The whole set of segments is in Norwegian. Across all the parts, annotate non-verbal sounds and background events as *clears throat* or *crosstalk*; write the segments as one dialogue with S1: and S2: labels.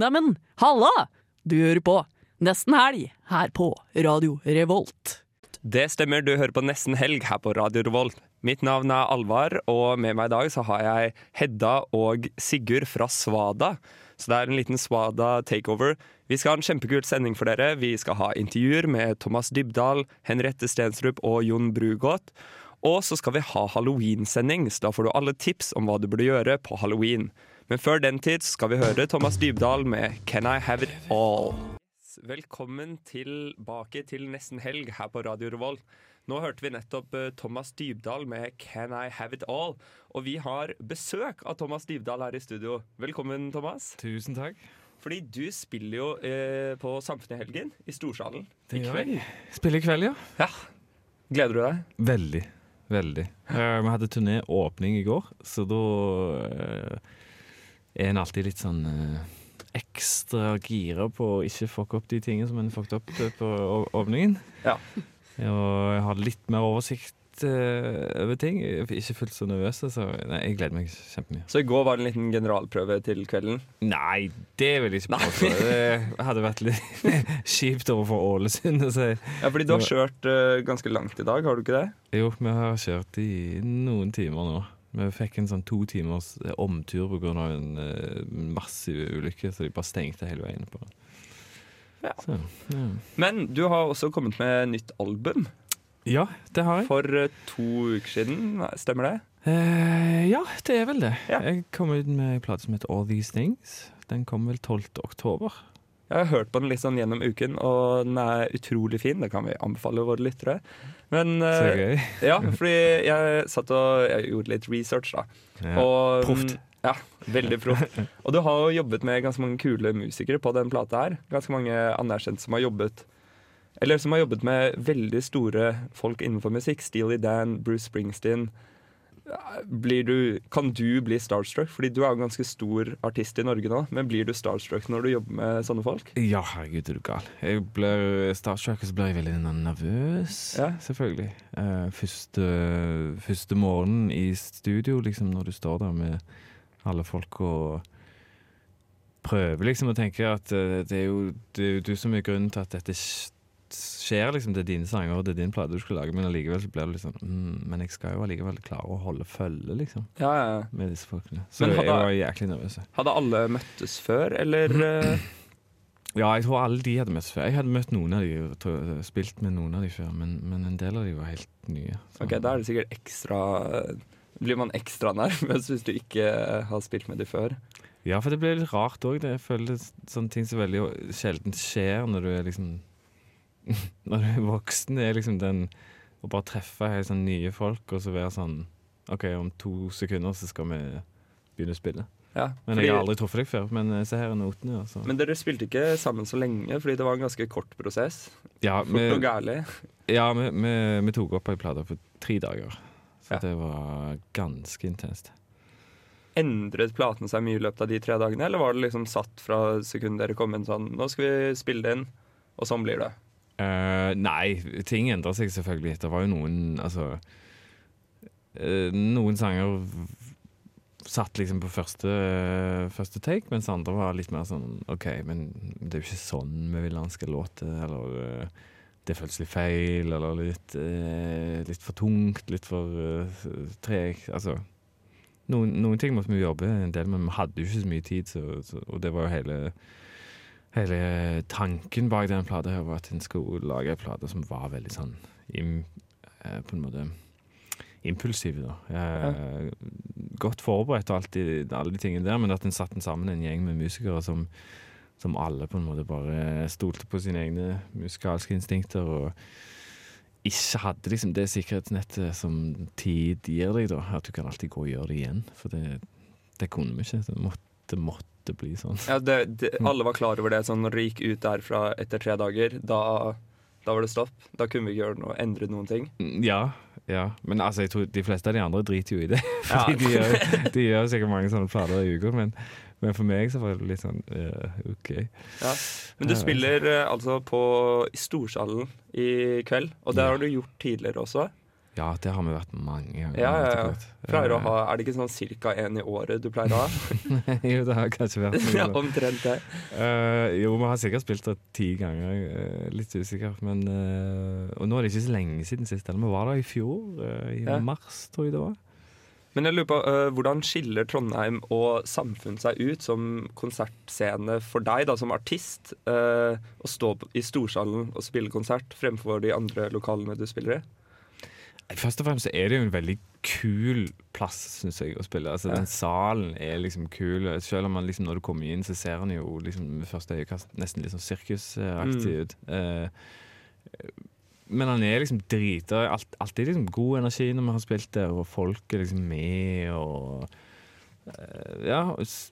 S1: Neimen, halla! Du hører på Nesten Helg her på Radio Revolt.
S2: Det stemmer, du hører på Nesten Helg her på Radio Revolt. Mitt navn er Alvar, og med meg i dag så har jeg Hedda og Sigurd fra Svada. Så det er en liten Svada takeover. Vi skal ha en kjempekul sending for dere. Vi skal ha intervjuer med Thomas Dybdahl, Henriette Stensrup og Jon Brugodt. Og så skal vi ha Halloween-sending, så da får du alle tips om hva du burde gjøre på halloween. Men før den tid så skal vi høre Thomas Dybdahl med Can I Have It All? Velkommen tilbake til Nesten Helg her på Radio Revolt. Nå hørte vi nettopp eh, Thomas Dybdahl med Can I Have It All. Og vi har besøk av Thomas Dybdahl her i studio. Velkommen, Thomas.
S3: Tusen takk.
S2: Fordi du spiller jo eh, på Samfunnet i helgen i Storsalen i
S3: Det gjør
S2: kveld.
S3: Spille i kveld, ja.
S2: Ja. Gleder du deg?
S3: Veldig. Veldig. Eh, vi hadde turnéåpning i går, så da eh, er en alltid litt sånn eh, ekstra gira på å ikke fucke opp de tingene som en fucket opp eh, på å- åpningen.
S2: Ja.
S3: Og jeg har litt mer oversikt eh, over ting. Jeg er ikke fullt så nervøs, så nei, jeg gleder meg kjempemye.
S2: Så i går var det en liten generalprøve til kvelden.
S3: Nei, det vil jeg ikke påstå. Det hadde vært litt *laughs* kjipt overfor Ålesund å si.
S2: Ja, fordi du har kjørt eh, ganske langt i dag, har du ikke det?
S3: Jo, vi har kjørt i noen timer nå. Vi fikk en sånn to timers eh, omtur pga. en eh, massiv ulykke, så de bare stengte hele veien. på den.
S2: Ja.
S3: Så, ja.
S2: Men du har også kommet med nytt album
S3: ja, det har jeg.
S2: for eh, to uker siden, stemmer det?
S3: Eh, ja, det er vel det.
S2: Ja.
S3: Jeg kom ut med en plate som heter All These Things. Den kom vel 12. oktober.
S2: Jeg har hørt på den litt sånn gjennom uken, og den er utrolig fin. Det kan vi anbefale våre lyttere. Men
S3: Så
S2: eh,
S3: gøy.
S2: ja, fordi jeg satt og jeg gjorde litt research, da.
S3: Ja.
S2: Og, mm,
S3: proft.
S2: Ja, veldig proft. Og du har jo jobbet med ganske mange kule musikere på den plata her. Ganske mange anerkjente som har jobbet Eller som har jobbet med veldig store folk innenfor musikk. Steely Dan, Bruce Springsteen. Blir du, kan du bli starstruck? Fordi du er jo en ganske stor artist i Norge nå. Men blir du starstruck når du jobber med sånne folk?
S3: Ja, herregud, er du gal. Jeg blir starstruck, og så blir jeg veldig nervøs.
S2: Ja.
S3: Selvfølgelig. Eh, første, første morgenen i studio, liksom, når du står der med alle folk og prøver liksom å tenke at eh, det er jo det er jo du som er grunnen til at dette sk- skjer, liksom. Det er dine sanger, og det er din plate du skal lage, men allikevel så blir det litt sånn mm, Men jeg skal jo allikevel klare å holde følge, liksom,
S2: Ja, ja, ja.
S3: med disse folkene. Så
S2: Men
S3: jeg
S2: hadde-
S3: var jæklig nervøs. jeg.
S2: Hadde alle møttes før, eller eh,
S3: Ja, jeg tror alle de hadde møtt før. Jeg hadde møtt noen av de og tro- eh, spilt med noen av de før, men, men en del av de var helt nye. Så-
S2: Ok, da er det sikkert ekstra eh, Blir man ekstra nervøs hvis du ikke eh, har spilt med de før?
S3: Ja, for det ble litt rart òg. Jeg føler det er sånne ting som veldig sjelden skjer når du er liksom *laughs* Når du er voksen. Det er liksom den å bare treffe helt sånn nye folk og så være sånn OK, om to sekunder så skal vi begynne å spille.
S2: Ja,
S3: Men
S2: fordi,
S3: jeg har aldri truffet deg før. Men eh, se her er notene, ja. Så.
S2: men dere spilte ikke sammen så lenge, fordi det var en ganske kort prosess.
S3: ja,
S2: Fort og
S3: vi,
S2: gærlig.
S3: ja vi, vi, vi tok opp ei plate på tre dager, så
S2: Ja.
S3: det var ganske intenst.
S2: Endret platene seg mye i løpet av de tre dagene, eller var det liksom satt fra sekundet dere kom inn sånn Nå skal vi spille det inn, og sånn blir det.
S3: Eh, nei, ting endrer seg selvfølgelig. Det var jo noen Altså eh, Noen sanger v- satt liksom på første, første take, mens andre var litt mer sånn OK, men det er jo ikke sånn vi vil han skal låte, eller eh, det føles litt feil, eller litt, eh, litt for tungt, litt for uh, tregt. Altså noen, noen ting måtte vi jobbe en del med, men vi hadde jo ikke så mye tid, så, så, og det var jo hele Hele tanken bak den plata her var at en skulle lage en plate som var veldig sånn im, eh, På en måte impulsiv, da. Eh, Godt forberedt og alt de- alle de tingene der, men at en satte den sammen en gjeng med musikere som, som alle på en måte bare stolte på sine egne musikalske instinkter og ikke hadde liksom det sikkerhetsnettet som tid gir deg, da. At du kan alltid gå og gjøre det igjen. For det, det kunne vi ikke. Det måtte, måtte bli sånn.
S2: Ja, det, det, alle var klar over det, sånn når dere gikk ut derfra etter tre dager, da, da var det stopp. Da kunne vi ikke gjøre noe, endre noen ting.
S3: Mm, Ja, ja. men altså, jeg tror de fleste av de andre driter jo i det. *laughs*
S2: Ja.
S3: Fordi de, gjør, de gjør sikkert mange sånne plater i uka, men, men for meg så var det litt sånn eh, OK.
S2: Ja. Men du
S3: Ja, ja.
S2: spiller eh, altså på i Storsalen i kveld, og det
S3: Ja.
S2: har du gjort tidligere også.
S3: Ja, det har vi vært mange ganger.
S2: Ja, ja, ja.
S3: etterpå.
S2: Pleier å ha, er det ikke sånn cirka én i året du pleier å ha?
S3: *laughs* jo, det har *laughs* kanskje vært noe.
S2: ja, *laughs* omtrent det.
S3: Eh, jo, vi har sikkert spilt det ti ganger. eh, litt usikker. Men, eh, og nå er det ikke så lenge siden sist. Eller, vi var der i fjor. eh, I
S2: Ja.
S3: mars, tror jeg det var.
S2: Men jeg lurer på, øh, hvordan skiller Trondheim og samfunn seg ut som konsertscene for deg, da, som artist? øh, å stå på- i storsalen og spille konsert fremfor de andre lokalene du spiller i?
S3: Først og fremst så er det jo en veldig kul plass, syns jeg, å spille. Altså,
S2: Ja.
S3: Den salen er liksom kul. Selv om man liksom, når du kommer inn, så ser den jo liksom, med første øyekast nesten litt sånn sirkusaktig
S2: Mm.
S3: ut. Eh, men han er liksom drita. Alt, alltid liksom god energi når vi har spilt der, og folk er liksom med og eh, Ja, og s-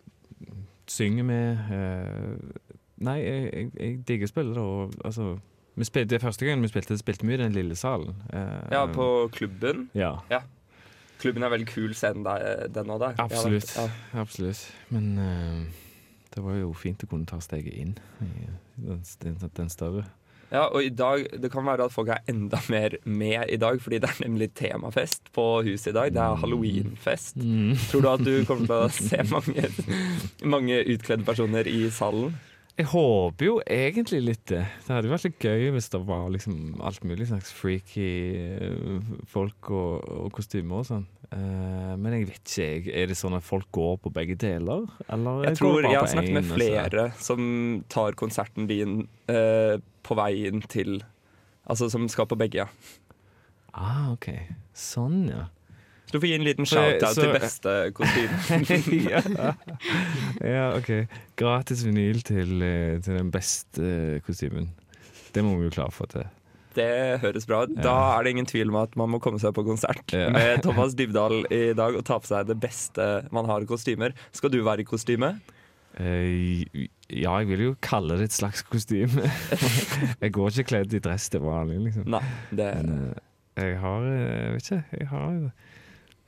S3: synger med. eh, nei, jeg, jeg, jeg digger å spille det, og altså vi spilte, det Første gangen vi spilte, spilte vi i den lille salen. eh,
S2: Ja, på klubben.
S3: ja,
S2: Klubben er veldig kul scene, der, den òg, der. Jeg har vært-
S3: absolutt. absolutt. Men eh, det var jo fint å kunne ta steget inn i den, den, den større.
S2: Ja, og i dag, Det kan være at folk er enda mer med i dag, fordi det er nemlig temafest på huset i dag. Det
S3: Mm.
S2: er halloweenfest. Tror du at du kommer til å se
S3: *laughs*
S2: mange, mange utkledde personer i salen?
S3: Jeg håper jo egentlig litt det. Det hadde jo vært litt gøy hvis det var liksom alt mulig slags freaky eh, folk og, og kostymer og sånn. Eh, men jeg vet ikke. Jeg, er det sånn at folk går på begge deler? Eller
S2: Jeg
S3: går
S2: tror
S3: bare
S2: jeg
S3: på
S2: har snakket med
S3: en, og så-
S2: flere som tar konserten din eh, på veien til Altså som skal på begge. ja.
S3: Ah, ok. Sånn, ja.
S2: Så du får gi en liten
S3: Så jeg-
S2: shout-out
S3: så-
S2: til beste
S3: *laughs*
S2: *laughs* kostyme.
S3: ja. ja, ok. Gratis vinyl til, eh, til den beste eh, kostymen. Det må vi jo klare å få til.
S2: Det høres bra ut. Da er det ingen tvil om at man må komme seg på konsert *laughs*
S3: Ja.
S2: med Thomas Dybdahl i dag og ta på seg det beste man har i kostymer. Skal du være i kostyme?
S3: Eh, ja, jeg vil jo kalle det et slags kostyme. *laughs* jeg går ikke kledd i dress til vanlig, liksom.
S2: Nei. Det,
S3: Men eh, jeg har eh, Jeg vet ikke. Jeg har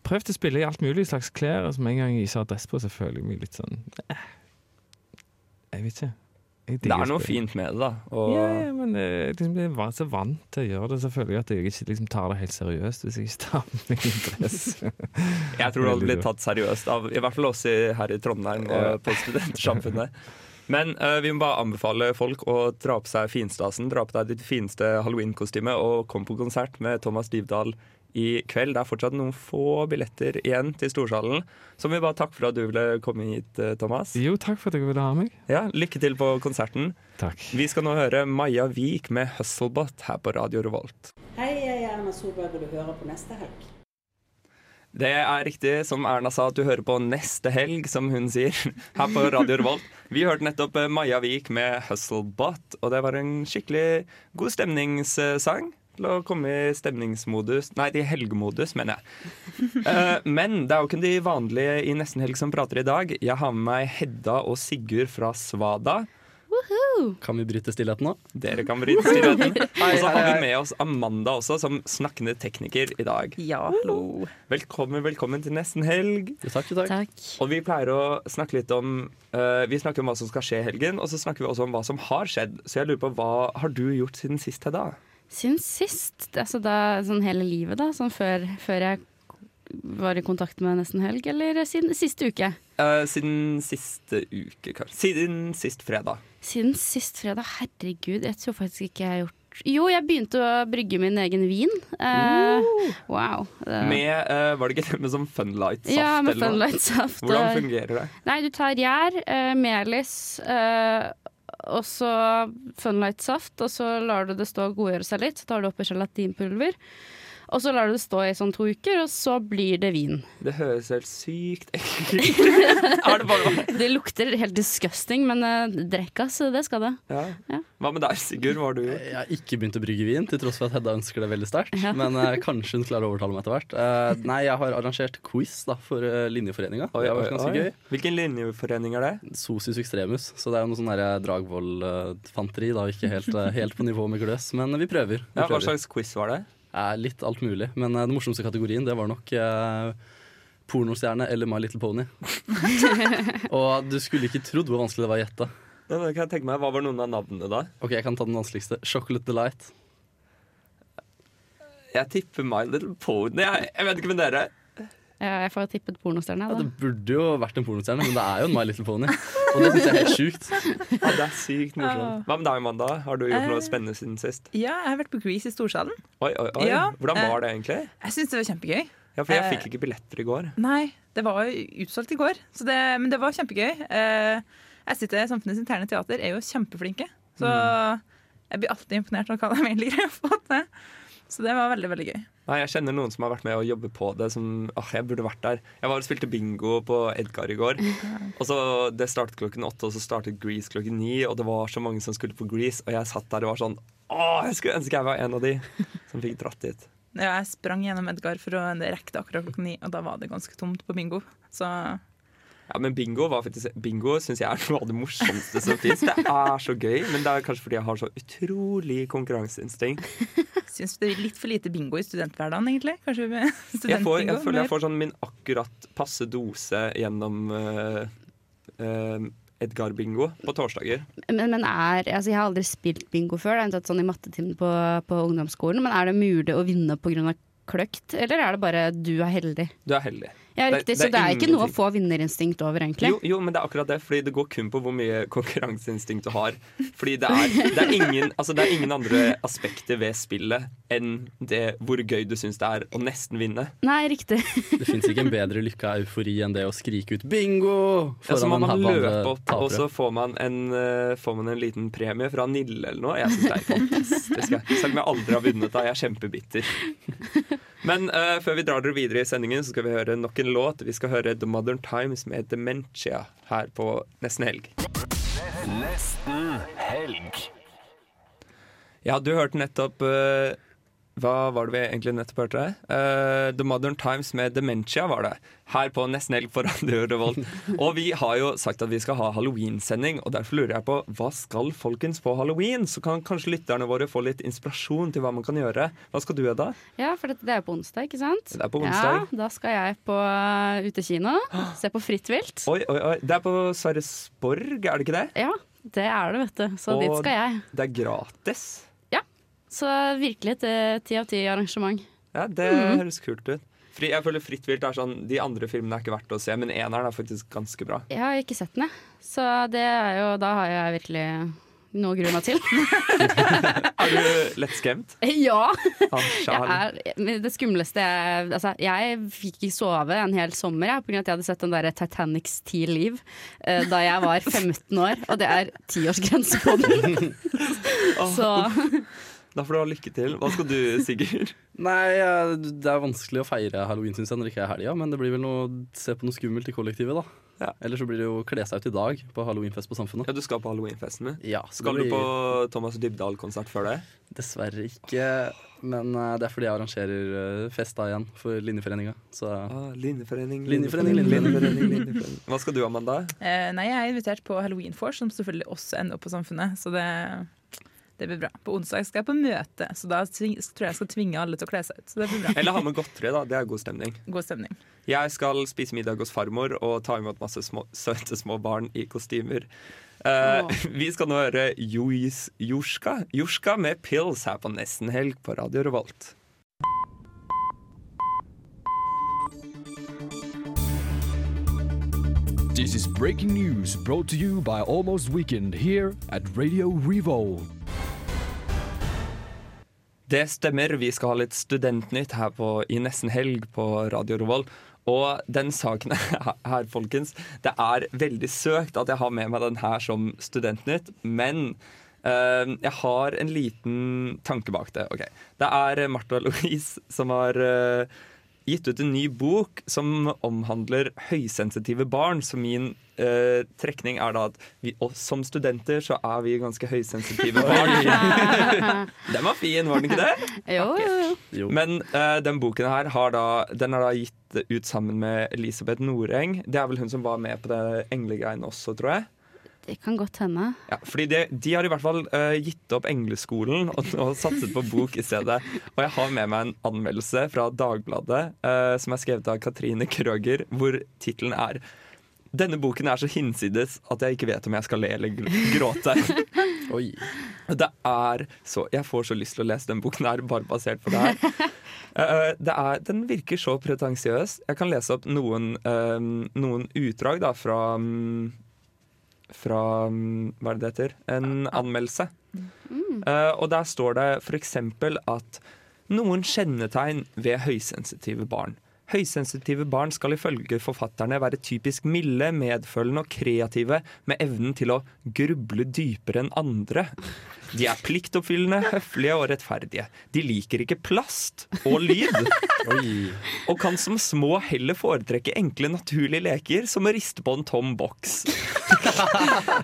S3: prøvd å spille i alt mulig slags klær, og som en gang jeg ikke har dress på, så føler jeg meg litt sånn eh, Jeg vet ikke. Jeg
S2: det
S3: digger å
S2: er noe
S3: spille.
S2: fint med det, da. Og,
S3: Ja, ja, men eh, liksom, jeg er van- så vant til å gjøre det, så føler jeg at jeg ikke liksom, tar det helt seriøst hvis jeg ikke tar på meg en dress.
S2: Jeg tror det hadde
S3: Veldig
S2: blitt tatt seriøst av I hvert fall oss i- her i Trondheim
S3: Ja.
S2: og på studentsamfunnet. Men eh, vi må bare anbefale folk å dra på seg finstasen. Dra på deg ditt fineste halloweenkostyme og kom på konsert med Thomas Dybdahl i kveld. Det er fortsatt noen få billetter igjen til Storsalen. Så må vi bare takke for at du ville komme hit, eh, Thomas.
S3: jo, takk for at dere ville ha meg.
S2: Ja, Lykke til på konserten.
S3: Takk.
S2: Vi skal nå høre Maja Vik med 'Hustlebot' her på Radio Revolt.
S4: Hei, jeg er Erna Solberg, og du hører på neste helg.
S2: Det er riktig, som Erna sa, at du hører på neste helg, som hun sier, *laughs* her på Radio Revolt. Vi hørte nettopp eh, Maja Vik med 'Hustlebot', og det var en skikkelig god stemningssang. Til å komme i stemningsmodus Nei, i helgemodus, mener jeg. Eh, Men det er jo ikke de vanlige i Nesten Helg som prater i dag. Jeg har med meg Hedda og Sigurd fra Svada.
S5: Kan vi bryte stillheten nå?
S2: Dere kan bryte
S6: *laughs*
S2: stillheten. Og så har vi med oss Amanda også, som snakkende tekniker i dag.
S6: Ja, hallo.
S2: Velkommen, velkommen til Nesten Helg.
S5: Jo, takk, jo, takk.
S6: Takk.
S2: Og vi pleier å snakke litt om eh, Vi snakker om hva som skal skje i helgen, og så snakker vi også om hva som har skjedd. Så jeg lurer på, hva har du gjort siden sist, Hedda?
S6: Siden sist, altså da, sånn hele livet da, sånn før, før jeg var i kontakt med nesten helg, eller siden siste uke?
S2: Eh, siden siste uke, kanskje. Siden sist fredag.
S6: Siden sist fredag, herregud, jeg tror faktisk ikke jeg har gjort Jo, jeg begynte å brygge min egen vin. Eh, wow. Det-
S2: Med eh, Var det ikke det med sånn funlight-saft?
S6: ja,
S2: eller
S6: med eh.
S2: noe?
S6: funlight-saft.
S2: Hvordan fungerer det?
S6: Nei, du tar gjær, eh, melis eh, og så funlight-saft, og så lar du det stå og godgjøre seg litt. Så tar du oppi gelatinpulver, og så lar du det stå i sånn to uker, og så blir det vin.
S2: Det høres helt sykt
S6: *laughs*
S2: ekkelt ut. er det bare
S6: Det lukter helt disgusting, men eh, drekk, ass, det skal det.
S2: ja.
S6: Ja.
S2: Hva med deg, Sigurd? Hva har du gjort?
S5: Jeg har ikke begynt å brygge vin, til tross for at Hedda ønsker det veldig sterkt.
S6: Ja.
S5: Men eh, kanskje hun klarer å overtale meg etter hvert. Eh, nei, jeg har arrangert quiz da, for eh, linjeforeninga. Det har vært ganske gøy.
S2: Hvilken linjeforening er det?
S5: Sosis extremus. Så det er jo noe sånn der Dragvoll-fanteri. da, Ikke helt, eh, helt på nivå med gløs, men vi prøver. Vi
S2: Ja, hva
S5: prøver.
S2: slags quiz var det?
S5: Eh, litt alt mulig. Men eh, den morsomste kategorien, det var nok eh, pornostjerne eller My Little Pony. Og du skulle ikke trodd hvor vanskelig det var å gjette.
S2: Ja, det kan jeg tenke meg. Hva var noen av navnene, da?
S5: Ok, jeg kan ta den vanskeligste. Chocolate Delight.
S2: Jeg tipper My Little Pony. Jeg, jeg vet ikke med dere.
S6: Ja, jeg får tippet pornostjerne.
S5: Ja,
S6: jeg,
S5: det
S6: da.
S5: burde jo vært en pornostjerne, men det er jo en My Little Pony. Og det syns jeg er helt sjukt.
S2: Ja, det er sykt morsomt. Hva med deg, Amanda? Har du gjort
S7: Eh.
S2: noe spennende siden sist?
S7: Ja, jeg har vært på Grease i Storsalen.
S2: Oi, oi, oi.
S7: Ja,
S2: Hvordan
S7: eh.
S2: var det egentlig?
S7: Jeg syns det var kjempegøy.
S2: Ja, for jeg
S7: Eh.
S2: fikk ikke billetter i går.
S7: Nei, det var jo utsolgt i går, så det, men det var kjempegøy. Eh, jeg sitter i Samfunnets interne teater, er jo kjempeflinke. Så
S2: Mm.
S7: jeg blir alltid imponert når Kalle Mailer har fått det. Så det var veldig, veldig gøy.
S2: Nei, Jeg kjenner noen som har vært med og jobber på det. Som, åh, Jeg burde vært der. Jeg var og spilte bingo på Edgar i går. Og så Det startet klokken åtte, og så startet Grease klokken ni. Og det var så mange som skulle på Grease, og jeg satt der og var sånn Åh, jeg skulle ønske jeg var en av de som fikk dratt dit.
S7: Ja, Jeg sprang gjennom Edgar for å rekke det akkurat klokken ni, og da var det ganske tomt på bingo. Så
S2: Ja, Men bingo var faktisk Bingo syns jeg er noe av det morsomste som fins. Det er så gøy, men det er kanskje fordi jeg har så utrolig konkurranseinstinkt.
S7: syns det blir litt for lite bingo i studenthverdagen, egentlig. Kanskje vi-
S2: Jeg, får, jeg
S7: studentbingo,
S2: føler
S7: mer.
S2: jeg får sånn min akkurat passe dose gjennom eh, eh, Edgar-bingo på torsdager.
S6: Men, men er, altså jeg har aldri spilt bingo før, det er unntatt sånn i mattetimen på, på ungdomsskolen. Men er det mulig å vinne pga. kløkt, eller er det bare du er heldig?
S2: Du er heldig.
S6: Ja,
S2: Det-
S6: riktig,
S2: det
S6: Så
S2: er
S6: det er ikke noe å
S2: ingenting.
S6: få vinnerinstinkt over, egentlig.
S2: Jo, jo, men det er akkurat det, fordi det går kun på hvor mye konkurranseinstinkt du har. Fordi det er, det er, ingen, altså det er ingen andre aspekter ved spillet enn det hvor gøy du syns det er å nesten vinne.
S6: Nei, riktig.
S5: Det fins ikke en bedre lykke av eufori enn det å skrike ut 'bingo'
S2: Ja, så
S5: foran
S2: må
S5: en
S2: man
S5: haug
S2: løpe
S5: av
S2: opp, og så
S5: tapere.
S2: får man, en, eh, får man en liten premie fra Nille eller noe. Jeg syns det er
S5: *laughs*
S2: fantastisk. jeg. Selv om jeg aldri har vunnet da. Jeg er kjempebitter. Men eh, før vi drar dere videre i sendingen, så skal vi høre nok en låt. Vi skal høre The Modern Times med Dementia her på Nesten Helg. Ja, du hørte nettopp eh, Hva var det vi egentlig nettopp hørte? Eh, The Modern Times med Dementia var det. Her på Nesten Helg på *laughs* Radio Revolt. Og vi har jo sagt at vi skal ha Halloween-sending, og derfor lurer jeg på hva skal folkens på halloween? Så kan kanskje lytterne våre få litt inspirasjon til hva man kan gjøre. Hva skal du gjøre da?
S6: Ja, for det, det er på onsdag, ikke sant?
S2: Det er på onsdag.
S6: Ja, Da skal jeg på
S2: *gasps*
S6: eh, utekino, se på Fritt vilt.
S2: Oi, oi, oi. Det er på Sverresborg, er det ikke det?
S6: Ja, det er det, vet du. Så
S2: Og-
S6: dit skal jeg.
S2: Det er gratis.
S6: Så virkelig et eh, ti av ti arrangement.
S2: Ja, det høres kult ut. Fri, jeg føler Fritt vilt er sånn De andre filmene er ikke verdt å se, men eneren er faktisk ganske bra.
S6: Jeg har ikke sett den, jeg. Så det er jo Da har jeg virkelig noe å grue meg til. *laughs*
S2: Er
S6: Eh,
S2: du lettskremt?
S6: ja!
S2: *laughs* Ah,
S6: Jeg
S2: Charlie.
S6: er, eh, men det skumleste jeg Altså, jeg fikk ikke sove en hel sommer jeg, pga. at jeg hadde sett den der Titanics ti liv eh, da jeg var 15 år, og det er tiårsgrense på den.
S2: *laughs*
S6: Så
S2: Da får du ha lykke til. Hva skal du, Sigurd?
S5: Nei, eh, det er vanskelig å feire halloween, syns jeg, når det ikke er helga, men det blir vel noe se på noe skummelt i kollektivet, da.
S2: Ja.
S5: Eller så blir det jo kle seg ut i dag på halloweenfest på Samfunnet.
S2: Ja, Du skal på halloweenfesten min.
S5: Ja, så
S2: Skal
S5: det
S2: du
S5: blir-
S2: på Thomas Dybdahl-konsert før det?
S5: Dessverre ikke, men eh, det er fordi jeg arrangerer eh, fest da igjen for Linjeforeninga. Så
S2: Ah, linjeforening,
S5: Linjeforening,
S2: linjeforening, linjeforening. Hva skal du, Amanda?
S7: Eh, nei, jeg er invitert på Halloween Force, som selvfølgelig også ender opp på Samfunnet. Så det, det blir bra. På onsdag skal jeg på møte, så da tving, tror jeg jeg skal tvinge alle til å kle seg ut. Så det blir bra.
S2: Eller ha med godteri, da. Det er god stemning.
S7: God stemning.
S2: Jeg skal spise middag hos farmor og ta imot masse små, søte små barn i kostymer. Eh,
S6: Åh.
S2: vi skal nå høre Jois Jorska. Jorska med Pills her på Nesten Helg på Radio Revolt.
S8: This is breaking news brought to you by Almost Weekend here at Radio Revolt.
S2: Det stemmer. Vi skal ha litt Studentnytt her på, i nesten helg på Radio Revolt. Og den saken *laughs* her, folkens, det er veldig søkt at jeg har med meg den her som Studentnytt, men eh, jeg har en liten tanke bak det. Ok. Det er Martha Louise som har eh, gitt ut en ny bok som omhandler høysensitive barn. Så min eh, trekning er da at vi, og som studenter så er vi ganske høysensitive barn. den var fin, var den ikke det?
S6: jo, jo, jo.
S5: jo.
S2: Men eh, den boken her har da, den er da gitt ut sammen med Elisabeth Noreng. Det er vel hun som var med på det englegreiene også, tror jeg.
S6: Det kan godt hende.
S2: Ja, fordi det, De har i hvert fall eh, gitt opp engleskolen og, og satset på bok i stedet. Og jeg har med meg en anmeldelse fra Dagbladet eh, som er skrevet av Katrine Krøger, hvor tittelen er Denne boken er så hinsides at jeg ikke vet om jeg skal le eller gr- gråte.
S5: Oi.
S2: Det er så Jeg får så lyst til å lese den boken her, bare basert på det her. Eh, det er, den virker så pretensiøs. Jeg kan lese opp noen, eh, noen utdrag da, fra mm, Fra mm, Hva er det det heter? En anmeldelse. Eh, og der står det f.eks. at noen kjennetegn ved høysensitive barn. Høysensitive barn skal ifølge forfatterne være typisk milde, medfølende og kreative, med evnen til å gruble dypere enn andre. De er pliktoppfyllende, høflige og rettferdige. De liker ikke plast og lyd,
S5: Oi.
S2: og kan som små heller foretrekke enkle, naturlige leker som å riste på en tom boks. *laughs*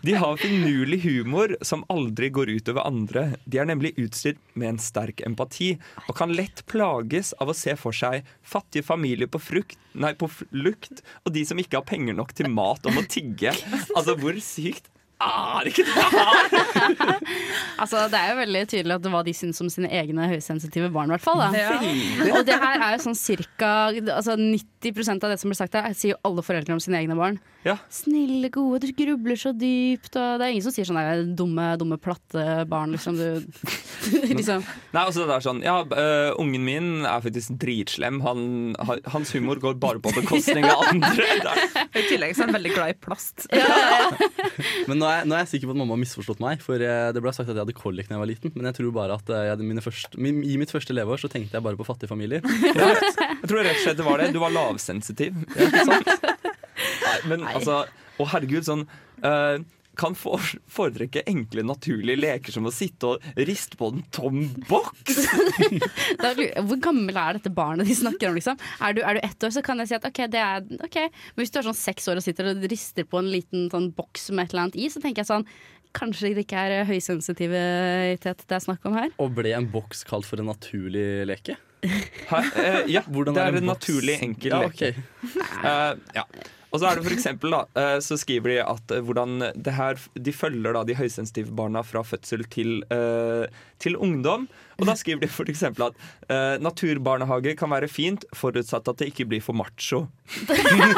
S2: De har finurlig humor som aldri går ut over andre. De er nemlig utstyrt med en sterk empati, og kan lett plages av å se for seg fattige familier på, frukt, nei, på flukt, og de som ikke har penger nok til mat, og må tigge. Altså, hvor sykt er ikke det? *laughs*
S6: Altså, det er jo veldig tydelig at det var de syntes om sine egne høysensitive barn. i hvert fall da.
S7: Ja.
S6: Og det her er jo sånn cirka altså 90 av det som blir sagt her, sier jo alle foreldre om sine egne barn.
S2: Ja.
S6: Snille, gode, du grubler så dypt. Og det er ingen som sier sånn der, dumme, dumme, platte barn, liksom. Du, *laughs* liksom.
S2: Nei, altså det er sånn, ja, øh, Ungen min er faktisk dritslem. Han, ha- hans humor går bare på bekostning av andre. Det er-
S7: *laughs* I tillegg så er han veldig glad i plast. *laughs*
S5: Men nå er, nå er jeg sikker på at mamma har misforstått meg. For eh, det ble sagt at jeg hadde kollek da jeg var liten. Men jeg tror bare at eh, jeg, mine første, min, i mitt første leveår så tenkte jeg bare på fattige familier.
S2: Jeg tror rett og slett det var det. Du var lavsensitiv. Ja, ikke sant? Nei, men altså Å, herregud, sånn øh, Kan for- foretrekke enkle, naturlige leker som å sitte og riste på en tom boks.
S6: Da lurer jeg, hvor gammel er dette barnet de snakker om? Liksom? Er, du, er du ett år, så kan jeg si at ok, det er ok. Men hvis du er sånn seks år og sitter og rister på en liten sånn boks med et eller annet i, så tenker jeg sånn Kanskje det ikke er eh, høysensitivitet det er snakk om her?
S5: Og ble en boks kalt for en naturlig leke?
S2: Hæ? Eh, ja,
S5: Hvordan
S2: det
S5: er
S2: er
S5: en
S2: en
S5: boks?
S2: naturlig, enkel
S5: Ja,
S2: leke.
S5: ok.
S2: Eh, ja. Og så er det for eksempel, da, eh, så skriver de at eh, hvordan det her, de følger da de høysensitive barna fra fødsel til, eh, til ungdom. Og da skriver de for eksempel at eh, naturbarnehage kan være fint, forutsatt at det ikke blir for macho. *laughs*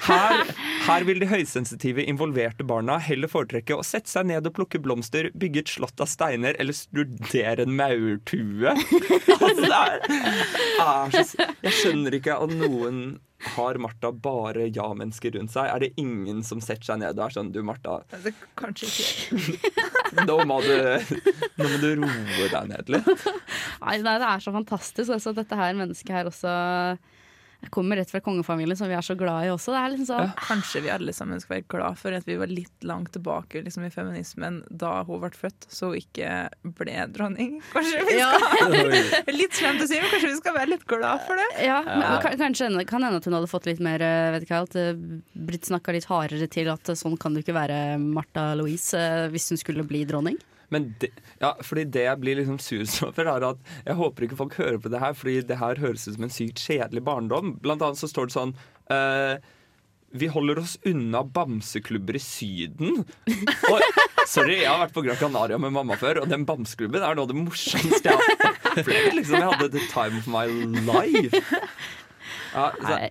S2: her, her vil de høysensitive involverte barna heller foretrekke å sette seg ned og plukke blomster, bygge et slott av steiner eller studere en maurtue. *laughs* altså, det er er så, s- jeg skjønner ikke at noen har Martha bare ja-mennesker rundt seg. Er det ingen som setter seg ned og er sånn Du, Martha,
S7: Det er kanskje ikke
S2: nå må du, nå må du roe deg ned litt.
S6: Nei, nei, det er så fantastisk. Altså, dette her mennesket her også jeg kommer rett fra kongefamilien, som vi er så glad i også. Det er liksom sånn,
S7: Kanskje vi alle sammen skal være glad for at vi var litt langt tilbake liksom, i feminismen da hun ble født, så hun ikke ble dronning. Kanskje vi
S5: Oi.
S7: skal *laughs* Litt slemt å si, men kanskje vi skal være litt glad for det.
S6: ja, men, men kan- kanskje hende- kan hende at hun hadde fått litt mer eh, vet ikke hva, at det blitt snakka litt hardere til at eh, sånn kan du ikke være Martha Louise eh, hvis hun skulle bli dronning.
S2: Men det, ja, fordi det jeg blir liksom sur *laughs* for, er at jeg håper ikke folk hører på det her, fordi det her høres ut som en sykt kjedelig barndom. Blant annet så står det sånn eh, Vi holder oss unna bamseklubber i
S6: *laughs*
S2: Syden. Og, sorry, jeg har vært på Gran Canaria med mamma før, og den bamseklubben er noe av det morsomste jeg har opplevd. Liksom, jeg hadde the time of my life. Ja, så,
S6: Nei,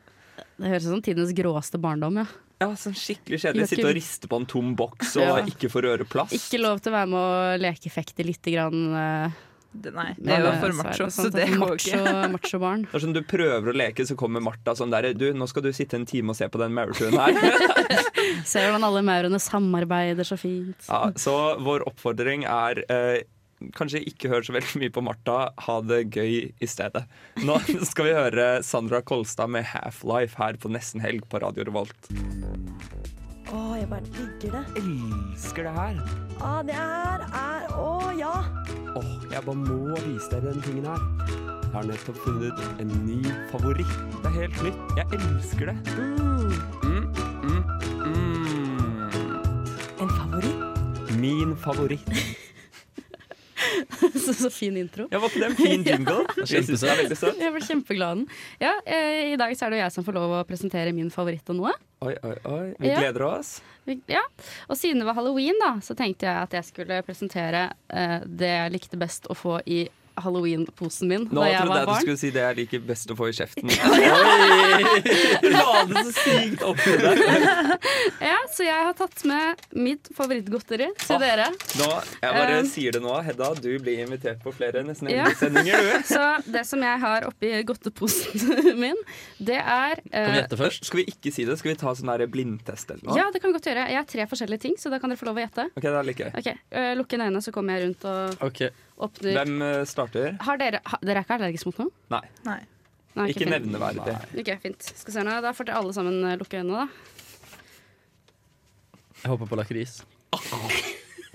S6: det høres ut som tidenes gråeste barndom, ja.
S2: ja, sånn skikkelig kjedelig. Sitte og riste på en tom boks og
S6: Ja.
S2: ikke få røre plast.
S6: Ikke lov til å være med og lekefekte lite grann. eh,
S7: Det- Nei, det er jo
S6: men,
S7: for
S6: eh,
S7: macho,
S6: det
S7: så
S6: sant,
S7: det
S6: at
S7: går ikke.
S6: macho, macho
S7: *laughs*
S6: barn.
S2: Det er sånn Du prøver å leke, så kommer Martha sånn der Du, nå skal du sitte en time og se på den maurtuen her.
S6: Ser hvordan alle maurene samarbeider så fint. *laughs*
S2: Ja, så vår oppfordring er eh, kanskje ikke hør så veldig mye på Martha. Ha det gøy i stedet. Nå *laughs* skal vi høre Sandra Kolstad med 'Half-Life' her på Nesten Helg på Radio Revolt.
S9: Å, jeg bare digger det.
S2: Elsker det her.
S9: Å, det her er Å, ja.
S2: Åh, jeg bare må vise dere denne tingen her. Jeg har nettopp funnet en ny favoritt. Det er helt nytt. Jeg elsker det.
S9: Mm,
S2: Mm, mm, mm.
S9: en favoritt.
S2: Min favoritt.
S6: så, så fin intro.
S2: *laughs* Ja, var ikke det en fin jingle? Jeg synes den er veldig søt.
S6: Jeg ble kjempeglad av den. Ja, eh, I dag så er det jo jeg som får lov å presentere min favoritt av noe.
S2: Oi, oi, oi. Vi
S6: Ja.
S2: gleder oss.
S6: Vi- Ja. Og siden det var halloween, da, så tenkte jeg at jeg skulle presentere eh, det jeg likte best å få i halloweenposen min
S2: Nå
S6: da jeg
S2: trodde
S6: var
S2: jeg du
S6: barn.
S2: skulle si det jeg liker best å få i
S6: *laughs*
S2: kjeften.
S5: La det så sykt opp i deg.
S6: Ja, så jeg har tatt med mitt favorittgodteri til
S2: Ah.
S6: dere.
S2: Nå, jeg bare
S6: Um,
S2: sier det nå, Hedda. Du blir invitert på flere nesten
S6: Ja.
S2: helgesendinger, du.
S6: Så det som jeg har oppi godteposen *laughs* min, det er
S5: Kan vi
S6: eh,
S5: gjette først?
S2: Skal vi ikke si det? Skal vi ta sånn der blindtest eller noe?
S6: Ja, det kan vi godt gjøre. Jeg har tre forskjellige ting, så da kan dere få lov å gjette.
S2: Ok, da liker jeg.
S6: Ok, eh, Lukk inn øynene, så kommer jeg rundt og
S5: Ok,
S6: åpner.
S2: Hvem eh, starter?
S6: Har dere, ha, dere er ikke allergiske mot noe?
S2: Nei.
S7: Nei.
S6: Nei,
S2: Ikke
S6: fint.
S2: nevneverdig.
S6: Ok, fint. Skal se nå. Da får dere alle sammen eh, lukke øynene, da.
S5: jeg håper på lakris.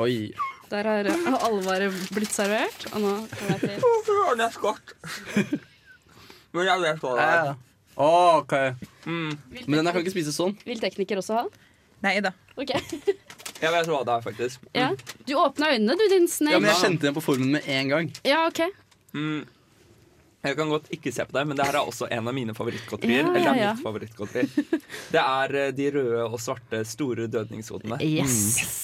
S5: Oi.
S6: Der har eh, alvoret blitt servert. Og nå kommer det til.
S2: Det er skott. Men jeg vet hva
S5: Ok.
S2: Mm,
S5: *laughs* Men den her kan ikke spises sånn.
S6: Vil tekniker også ha?
S7: Nei da.
S6: Ok.
S2: jeg vet hva det er, faktisk.
S6: Ja. Du åpna øynene, du,
S5: Ja,
S6: din
S5: men
S6: snake.
S5: Jeg kjente den på formen med en gang.
S6: Ja, OK.
S2: Mm. Jeg kan godt ikke se på deg, men det her er også en av mine favorittgodterier.
S6: Ja,
S2: eller det
S6: ja, ja.
S2: er mitt favorittgodteri. Det er eh, de røde og svarte store dødningshodene.
S6: Yes.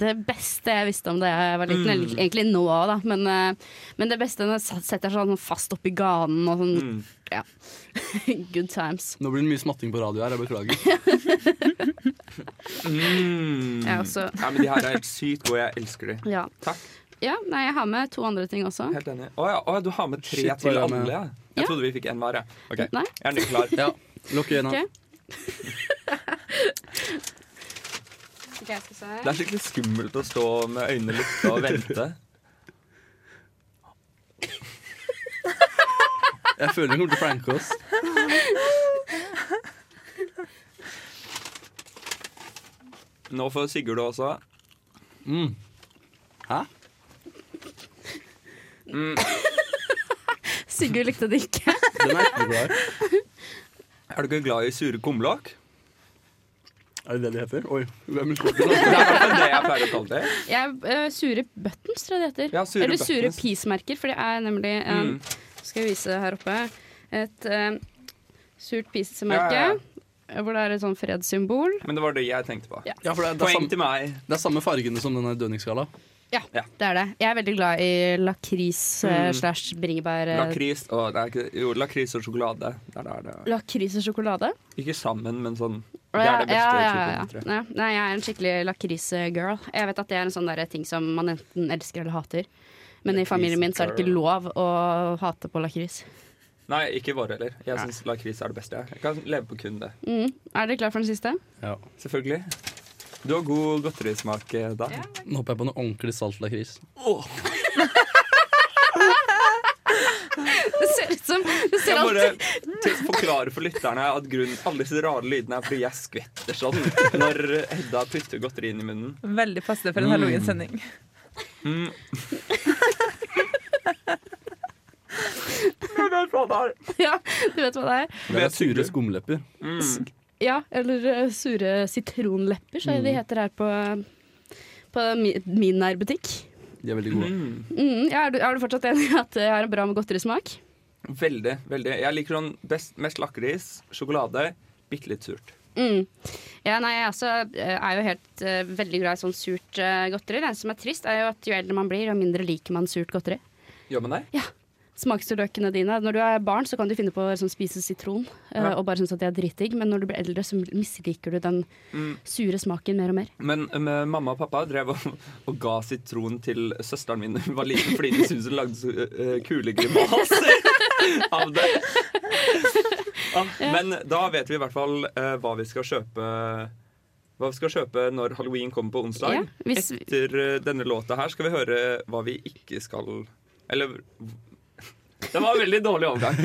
S6: Det beste jeg visste om da jeg var liten,
S2: Mm.
S6: eller egentlig nå òg, da, men, eh, men det beste når jeg satt- setter sånn fast oppi ganen og sånn
S2: Mm.
S6: Ja. *laughs* Good times.
S5: Nå blir det mye smatting på radio her. Jeg beklager.
S2: Mm.
S6: Jeg også.
S2: Ja, men de her er helt sykt gode. Jeg elsker de.
S6: Ja.
S2: Takk.
S6: ja. Nei, jeg har med to andre ting også.
S2: Helt enig. Å ja, å, ja, du har med tre
S5: Shit,
S2: til
S5: hva gjør jeg
S2: alle,
S5: med-
S2: ja. Jeg
S6: Ja.
S2: trodde vi fikk én hver, jeg. Ok,
S6: Nei.
S2: Jeg er ny klar.
S5: Ja, Lukk øynene.
S6: Ok. Ok, jeg skal se her.
S2: Det er skikkelig skummelt å stå med øynene lukka og vente.
S5: Jeg føler den kommer til å pranke oss.
S2: Nå får Sigurd også.
S5: Mm. Hæ?
S6: Sigurd likte det ikke.
S5: Den er ikke glad.
S2: Er du ikke glad i sure kumlokk?
S5: Er det det de heter? Oi. Hvem er det?
S2: Det er i hvert fall det jeg pleier å kalle det.
S6: Jeg, eh, sure buttons, tror jeg det heter.
S2: Ja, sure
S6: Eller sure
S2: buttons.
S6: peace-merker, for det er nemlig eh,
S2: Mm.
S6: Skal jeg vise her oppe. Et eh, surt peace-merke.
S2: Ja, ja,
S6: Hvor det er et sånn fredssymbol.
S2: Men det var det jeg tenkte på.
S6: Ja.
S5: Ja, for det er, det er,
S2: Poeng
S5: samme,
S2: til meg.
S5: det er samme fargene som denne dønningsskala.
S6: Det er det. Jeg er veldig glad i lakris eh,
S2: Mm.
S6: slash bringebær. eh,
S2: Lakris og, det er ikke, jo, lakris og sjokolade. Det er det, det.
S6: Lakris og sjokolade?
S2: Ikke sammen, men sånn. Det er det beste
S6: ja, ja, ja,
S2: typen.
S6: ja.
S2: tror jeg.
S6: Ja. Nei, jeg er en skikkelig lakris-girl. Jeg vet at det er en sånn der ting som man enten elsker eller hater. Men i familien min så er det ikke lov å hate på lakris.
S2: Nei, ikke våre heller. Jeg syns lakris er det beste. Jeg kan leve på kun det.
S6: Mm. Er dere klar for den siste?
S5: Ja.
S2: Selvfølgelig. Du har god godterismak, eh, da.
S5: Nå håper jeg på noe ordentlig salt lakris.
S6: *laughs* Det ser ut som det ser
S2: Jeg
S6: alt.
S2: bare til å forklare for lytterne at grunnen, alle disse rare lydene er fordi jeg skvetter sånn når Hedda putter godteri inn i munnen.
S7: Veldig passende for en halloween-sending.
S6: *laughs*
S7: Mm.
S6: Ja, du vet hva det er.
S5: Det er sure skumlepper.
S6: Ja, eller eh, sure sitronlepper, som de heter her på, på mi- min nærbutikk.
S5: De er veldig gode.
S6: Mm, ja, er, du, er du fortsatt enig i at jeg har en bra med godterismak?
S2: Veldig. veldig. Jeg liker sånn best, mest lakris, sjokolade, bitte litt surt.
S6: Mm. Ja, nei, jeg også eh, er jo helt eh, veldig glad i sånn surt eh, godteri. Det eneste som er trist, er jo at jo eldre man blir, jo mindre liker man surt godteri.
S2: Gjør man det?
S6: Smaksløkene dine. Når du er barn, så kan du finne på å liksom, spise sitron eh, og bare synes at det er dritdigg, men når du blir eldre, så misliker du den sure smaken mer og mer.
S2: Men eh, men mamma og pappa drev og, og ga sitron til søsteren min da hun var liten fordi de syntes hun lagde så eh, kule grimaser *laughs* av det. Ja, men da vet vi i hvert fall eh, hva vi skal kjøpe Hva vi skal kjøpe når halloween kommer på onsdag.
S6: Ja, hvis vi-
S2: Etter eh, denne låta her skal vi høre hva vi ikke skal Eller *laughs* Det var en veldig dårlig overgang.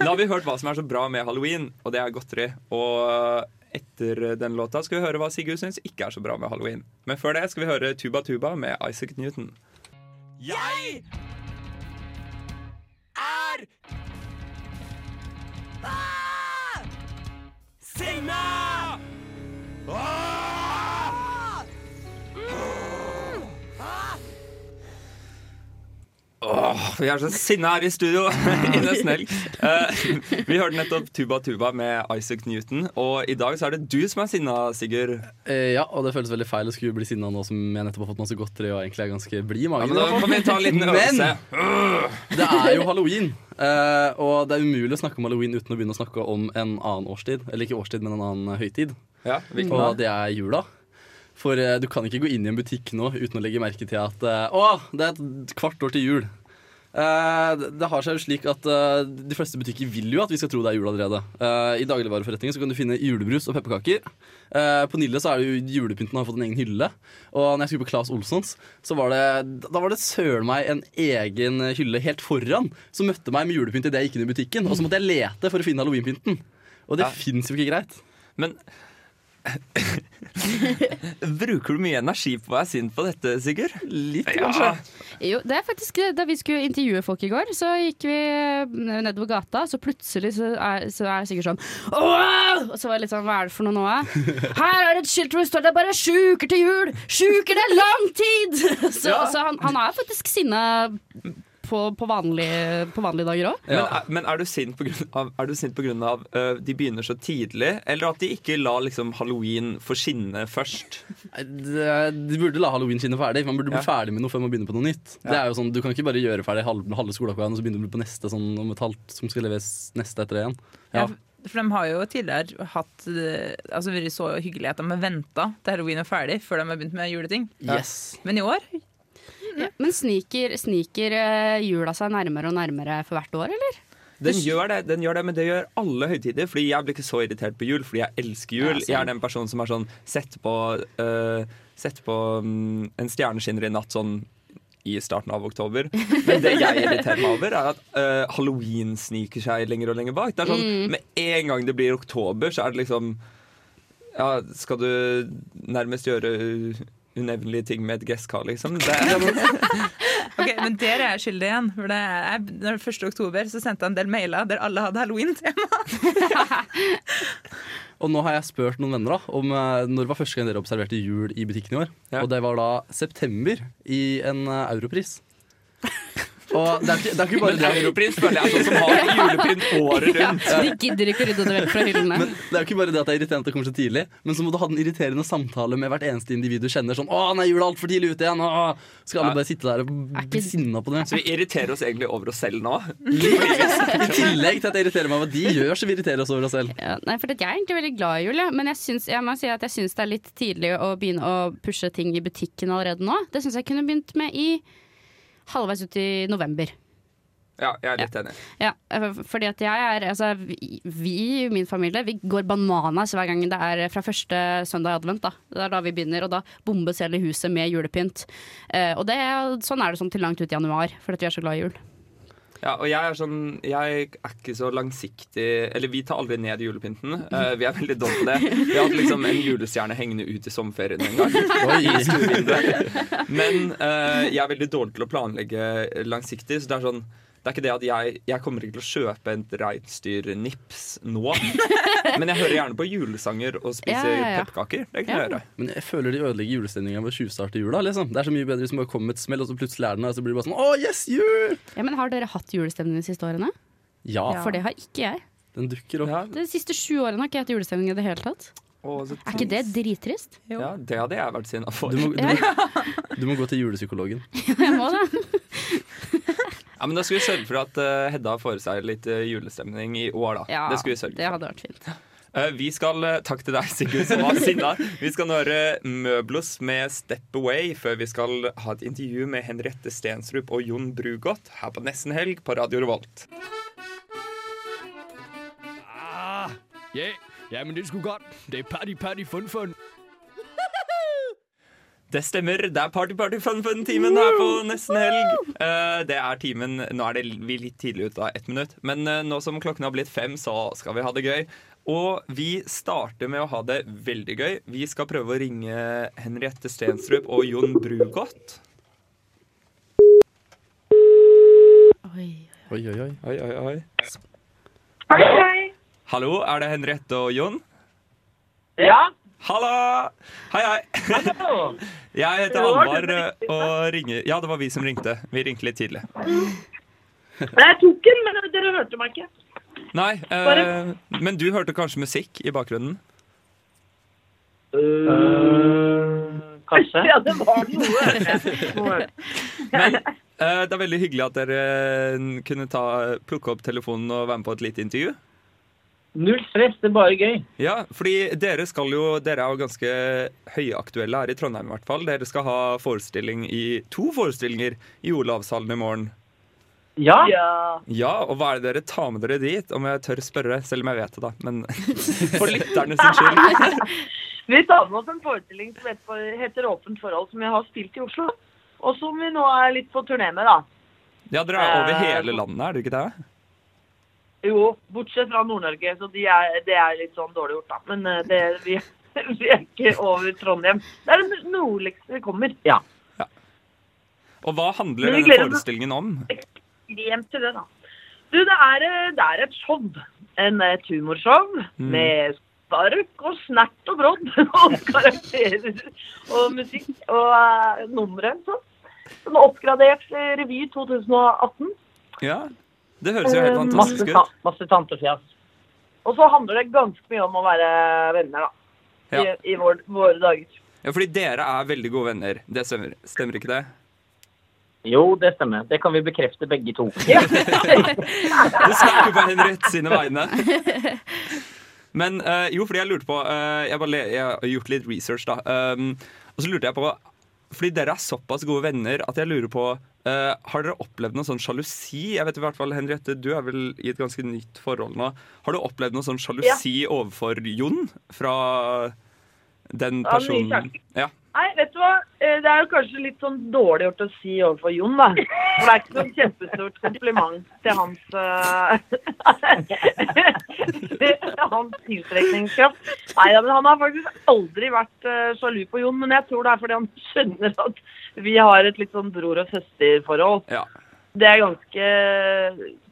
S2: Nå har vi hørt hva som er så bra med halloween, og det er godteri. Og etter den låta skal vi høre hva Sigurd syns ikke er så bra med halloween. Men før det skal vi høre Tuba Tuba med Isaac Newton. Jeg er sinna! Åh, Åh, vi er så sinna her i studio! *laughs* I Nesten Helg. Eh, vi hørte nettopp Tuba Tuba med Isaac Newton, og i dag så er det du som er sinna, Sigurd.
S5: Eh, ja, og det føles veldig feil å skulle bli sinna nå som jeg nettopp har fått masse godteri og egentlig er ganske blid i
S2: Ja,
S5: magen.
S2: *laughs* men da
S5: i hvert
S2: kan vi ta en liten
S5: Men-
S2: øvelse.
S5: fall. det er jo halloween, eh, og det er umulig å snakke om halloween uten å begynne å snakke om en annen årstid. Eller ikke årstid, men en annen høytid.
S2: Ja, hvilken da?
S5: Og det er jula. For eh, du kan ikke gå inn i en butikk nå uten å legge merke til at eh, Å, det er et kvart år til jul. Eh, det- det har seg jo slik at eh, De fleste butikker vil jo at vi skal tro det er jul allerede. Eh, I dagligvareforretningen så kan du finne julebrus og pepperkaker. Eh, på Nille så er det jo julepynten har fått en egen hylle. Og når jeg skulle på Claes Olssons, så var det, da var det søren meg en egen hylle helt foran som møtte meg med julepynt idet jeg gikk inn i butikken. Og så måtte jeg lete for å finne halloweenpynten. Og det
S2: Ja.
S5: fins jo ikke greit.
S2: Men *laughs* Bruker du mye energi på å være sint på dette, Sigurd? Litt, kanskje.
S6: Jo, det er faktisk det. Da vi skulle intervjue folk i går, så gikk vi eh, nedover gata, så plutselig så er, så er det sikkert sånn Åh! Og så var det litt sånn, hva er det for noe nå? eh? Her er det et skilt hvor det står det er bare sju uker til jul! Sju uker, det er lang tid! *laughs* Så, så han, han er faktisk sinna på, på, vanlige, på vanlige dager òg.
S2: Men, er, men er du sint på grunn av, er du sint på grunn av ø, de begynner så tidlig, eller at de ikke lar liksom, halloween få skinne først?
S5: Det- De burde la halloween skinne ferdig. Man burde bli
S2: Ja.
S5: ferdig med noe før man begynner på noe nytt. Det er jo sånn, Du kan ikke bare gjøre ferdig halve, halve skoleoppgaven og så begynne på neste sånn om et halvt som skal leveres neste etter det igjen. Ja.
S7: Ja. For de har jo tidligere hatt eh, altså vært så hyggelige at de har venta til halloween er ferdig før de har begynt med juleting.
S5: Yes.
S7: Men i år
S6: Men sniker, sniker eh, jula seg nærmere og nærmere for hvert år, eller?
S2: Den gjør det, den gjør det, men det gjør alle høytider. Fordi jeg blir ikke så irritert på jul, fordi jeg elsker jul.
S6: Ja, sant.
S2: jeg er den personen som er sånn Sett på, ø, sett på mm, en stjerne skinner i natt sånn i starten av oktober. Men det jeg irriterer meg over, er at ø, halloween sniker seg lenger og lenger bak. Det er sånn, Med en gang det blir oktober, så er det liksom ja, Skal du nærmest gjøre ø, unevnelige ting med et gresskar, liksom? Det,
S7: Ok, men der er jeg skyldig igjen. For det er, når det er 1. oktober så sendte jeg en del mailer der alle hadde halloween-tema.
S5: Og nå har jeg spurt noen venner da om eh, når var første gang dere observerte jul i butikken i år.
S2: Ja.
S5: Og det var da september i en eh, europris. *laughs* Og det er ikke, det er ikke bare
S2: men
S5: det.
S2: europris føler jeg er sånn som har julepynt året rundt.
S6: *laughs* De gidder ikke å rydde det vekk fra hyllene.
S5: Men det er jo ikke bare det at det er irriterende at det kommer så tidlig, men så må du ha den irriterende samtale med hvert eneste individ du kjenner. Sånn 'Å, nei, jula er altfor tidlig ute igjen!' Å, skal alle bare sitte der og bli
S6: ikke-
S5: sinna på det?
S2: Så vi irriterer oss egentlig over oss selv nå.
S5: I tillegg til at jeg irriterer meg over hva de gjør, så vi irriterer oss over oss selv.
S6: Ja, nei, for at Jeg er egentlig veldig glad i jul, jeg, men jeg syns, jeg, må si at jeg syns det er litt tidlig å begynne å pushe ting i butikken allerede nå. Det syns jeg kunne begynt med i halvveis ut i november.
S2: Ja, jeg er litt enig.
S6: Ja, eh, fordi at jeg er altså, vi- Vi i min familie Vi går bananas hver gang det er fra første søndag i advent. Da. Det er da vi begynner, og da bombes hele huset med julepynt. Eh, og det, er- sånn er det sånn til langt ut i januar, fordi at vi er så glad i jul.
S2: Ja, og jeg er sånn Jeg er ikke så langsiktig Eller vi tar aldri ned julepynten. Eh, vi er veldig dårlige på det. Vi har hatt liksom en julestjerne hengende ut i sommerferien en gang.
S5: Oi.
S2: Men eh, jeg er veldig dårlig til å planlegge langsiktig. Så det er sånn det er ikke det at jeg, jeg kommer ikke til å kjøpe et reinsdyrnips nå. Men jeg hører gjerne på julesanger og spiser
S6: Ja, ja, ja.
S2: pepperkaker. Det kan jeg gjøre.
S5: Men jeg føler de ødelegger julestemninga ved å tjuvstarte jula. liksom Det er så mye bedre hvis man bare kommer med et smell, og så plutselig er den der, og så blir det bare sånn 'Å, yes, jul!'
S6: Ja, men Har dere hatt julestemning de siste årene?
S5: Ja,
S7: Ja.
S6: For det har ikke jeg.
S5: den dukker opp.
S2: Ja,
S6: De siste sju årene har ikke jeg hatt julestemning i det hele tatt.
S2: og så-
S6: Er ikke det drittrist?
S2: Ja, det hadde jeg vært sinna for.
S5: Du må, du, må, du må gå til julepsykologen.
S6: *laughs* Jeg må *laughs* det.
S2: Ja, men Da skal vi sørge for at eh, Hedda får seg litt eh, julestemning i år, da. det skal vi sørge for.
S6: hadde vært fint.
S2: Eh, vi skal, eh, Takk til deg, Sigurd, som var sinna. Vi skal nå høre Møblos med 'Step Away' før vi skal ha et intervju med Henriette Stensrup og Jon Brugodt her på Nesten Helg på Radio Revolt.
S8: Ja, ja, men det skulle godt. Det er party, party, fun, fun.
S2: Det stemmer. Det er Party Party Fun Fun-timen her på nesten helg. Eh, det er timen Nå er det vi litt tidlig ute av ett minutt, men eh, nå som klokken har blitt fem, så skal vi ha det gøy. Og vi starter med å ha det veldig gøy. Vi skal prøve å ringe Henriette Stensrup og Jon Brugodt.
S5: Oi, oi, oi.
S2: Oi, oi, oi.
S10: Hei, hei.
S2: Hallo, er det Henriette og Jon?
S10: Ja,
S2: Halla! Hei, hei.
S10: hallo.
S2: *laughs* Jeg heter
S10: Det var
S2: Alvar
S10: du som ringte,
S2: og ringer Ja, det var vi som ringte. Vi ringte litt tidlig.
S10: *laughs* Nei, Jeg tok den, men dere hørte meg ikke.
S2: Nei, eh,
S10: Bare-
S2: men du hørte kanskje musikk i bakgrunnen?
S10: Ja, det var noe.
S2: Men eh, det er veldig hyggelig at dere eh, kunne ta, plukke opp telefonen og være med på et lite intervju.
S10: Null stress, det er bare gøy.
S2: Ja, fordi dere skal jo Dere er jo ganske høyaktuelle her i Trondheim i hvert fall. Dere skal ha forestilling i to forestillinger i Olavshallen i morgen.
S10: Ja.
S2: Ja, og hva er det dere tar med dere dit? Om jeg tør spørre, selv om jeg vet det, da. Men *laughs* for lytterne sin skyld.
S10: Vi tar med oss en forestilling som heter- heter Åpent forhold, som jeg har spilt i Oslo. Og som vi nå er litt på turné med, da.
S2: Ja, dere er over hele landet, er det ikke det?
S10: Jo, bortsett fra Nord-Norge, så de er, det er litt sånn dårlig gjort, da. Men eh, det, vi, *laughs* vi er ikke over Trondheim. Det er det nordligste vi kommer. Ja.
S2: Og hva handler
S10: Men vi
S2: denne
S10: gleder oss.
S2: forestillingen om?
S10: Hjem til det, da. Du, det er, eh, det er et show. En, et humorshow
S2: Mm.
S10: med spark og snert og brodd *laughs* og karakterer og musikk og eh, numre. Så. Som er oppgradert eh, revy 2018.
S2: Ja, Det høres jo helt
S10: Eh,
S2: fantastisk
S10: masse,
S2: ut.
S10: ta- masse tantefjas. Og så handler det ganske mye om å være venner, da.
S2: Ja.
S10: I, i vår, våre dager.
S2: ja, fordi dere er veldig gode venner. Det stemmer, stemmer ikke det?
S11: Jo, det stemmer. Det kan vi bekrefte begge to.
S2: Du snakker på Henriette sine vegne. Men eh, jo, fordi jeg lurte på eh, jeg, bare, le- jeg har gjort litt research, da. Um, og så lurte jeg på Fordi dere er såpass gode venner at jeg lurer på eh, Har dere opplevd noe sånn sjalusi? Jeg vet i hvert fall, Henriette, du er vel i et ganske nytt forhold nå. Har du opplevd noe sånn sjalusi overfor Jon fra den
S10: Ja, mye
S2: personen?
S10: sjalusi.
S2: Ja.
S10: Nei, vet du hva? Eh, Det er jo kanskje litt sånn dårlig gjort å si overfor Jon, da. For det er ikke noe kjempestort kompliment til hans eh, *laughs* Hans tiltrekningskraft. Nei da, men han har faktisk aldri vært eh, sjalu på Jon. Men jeg tror det er fordi han skjønner at vi har et litt sånn bror- og søsterforhold.
S2: Ja.
S10: Det er ganske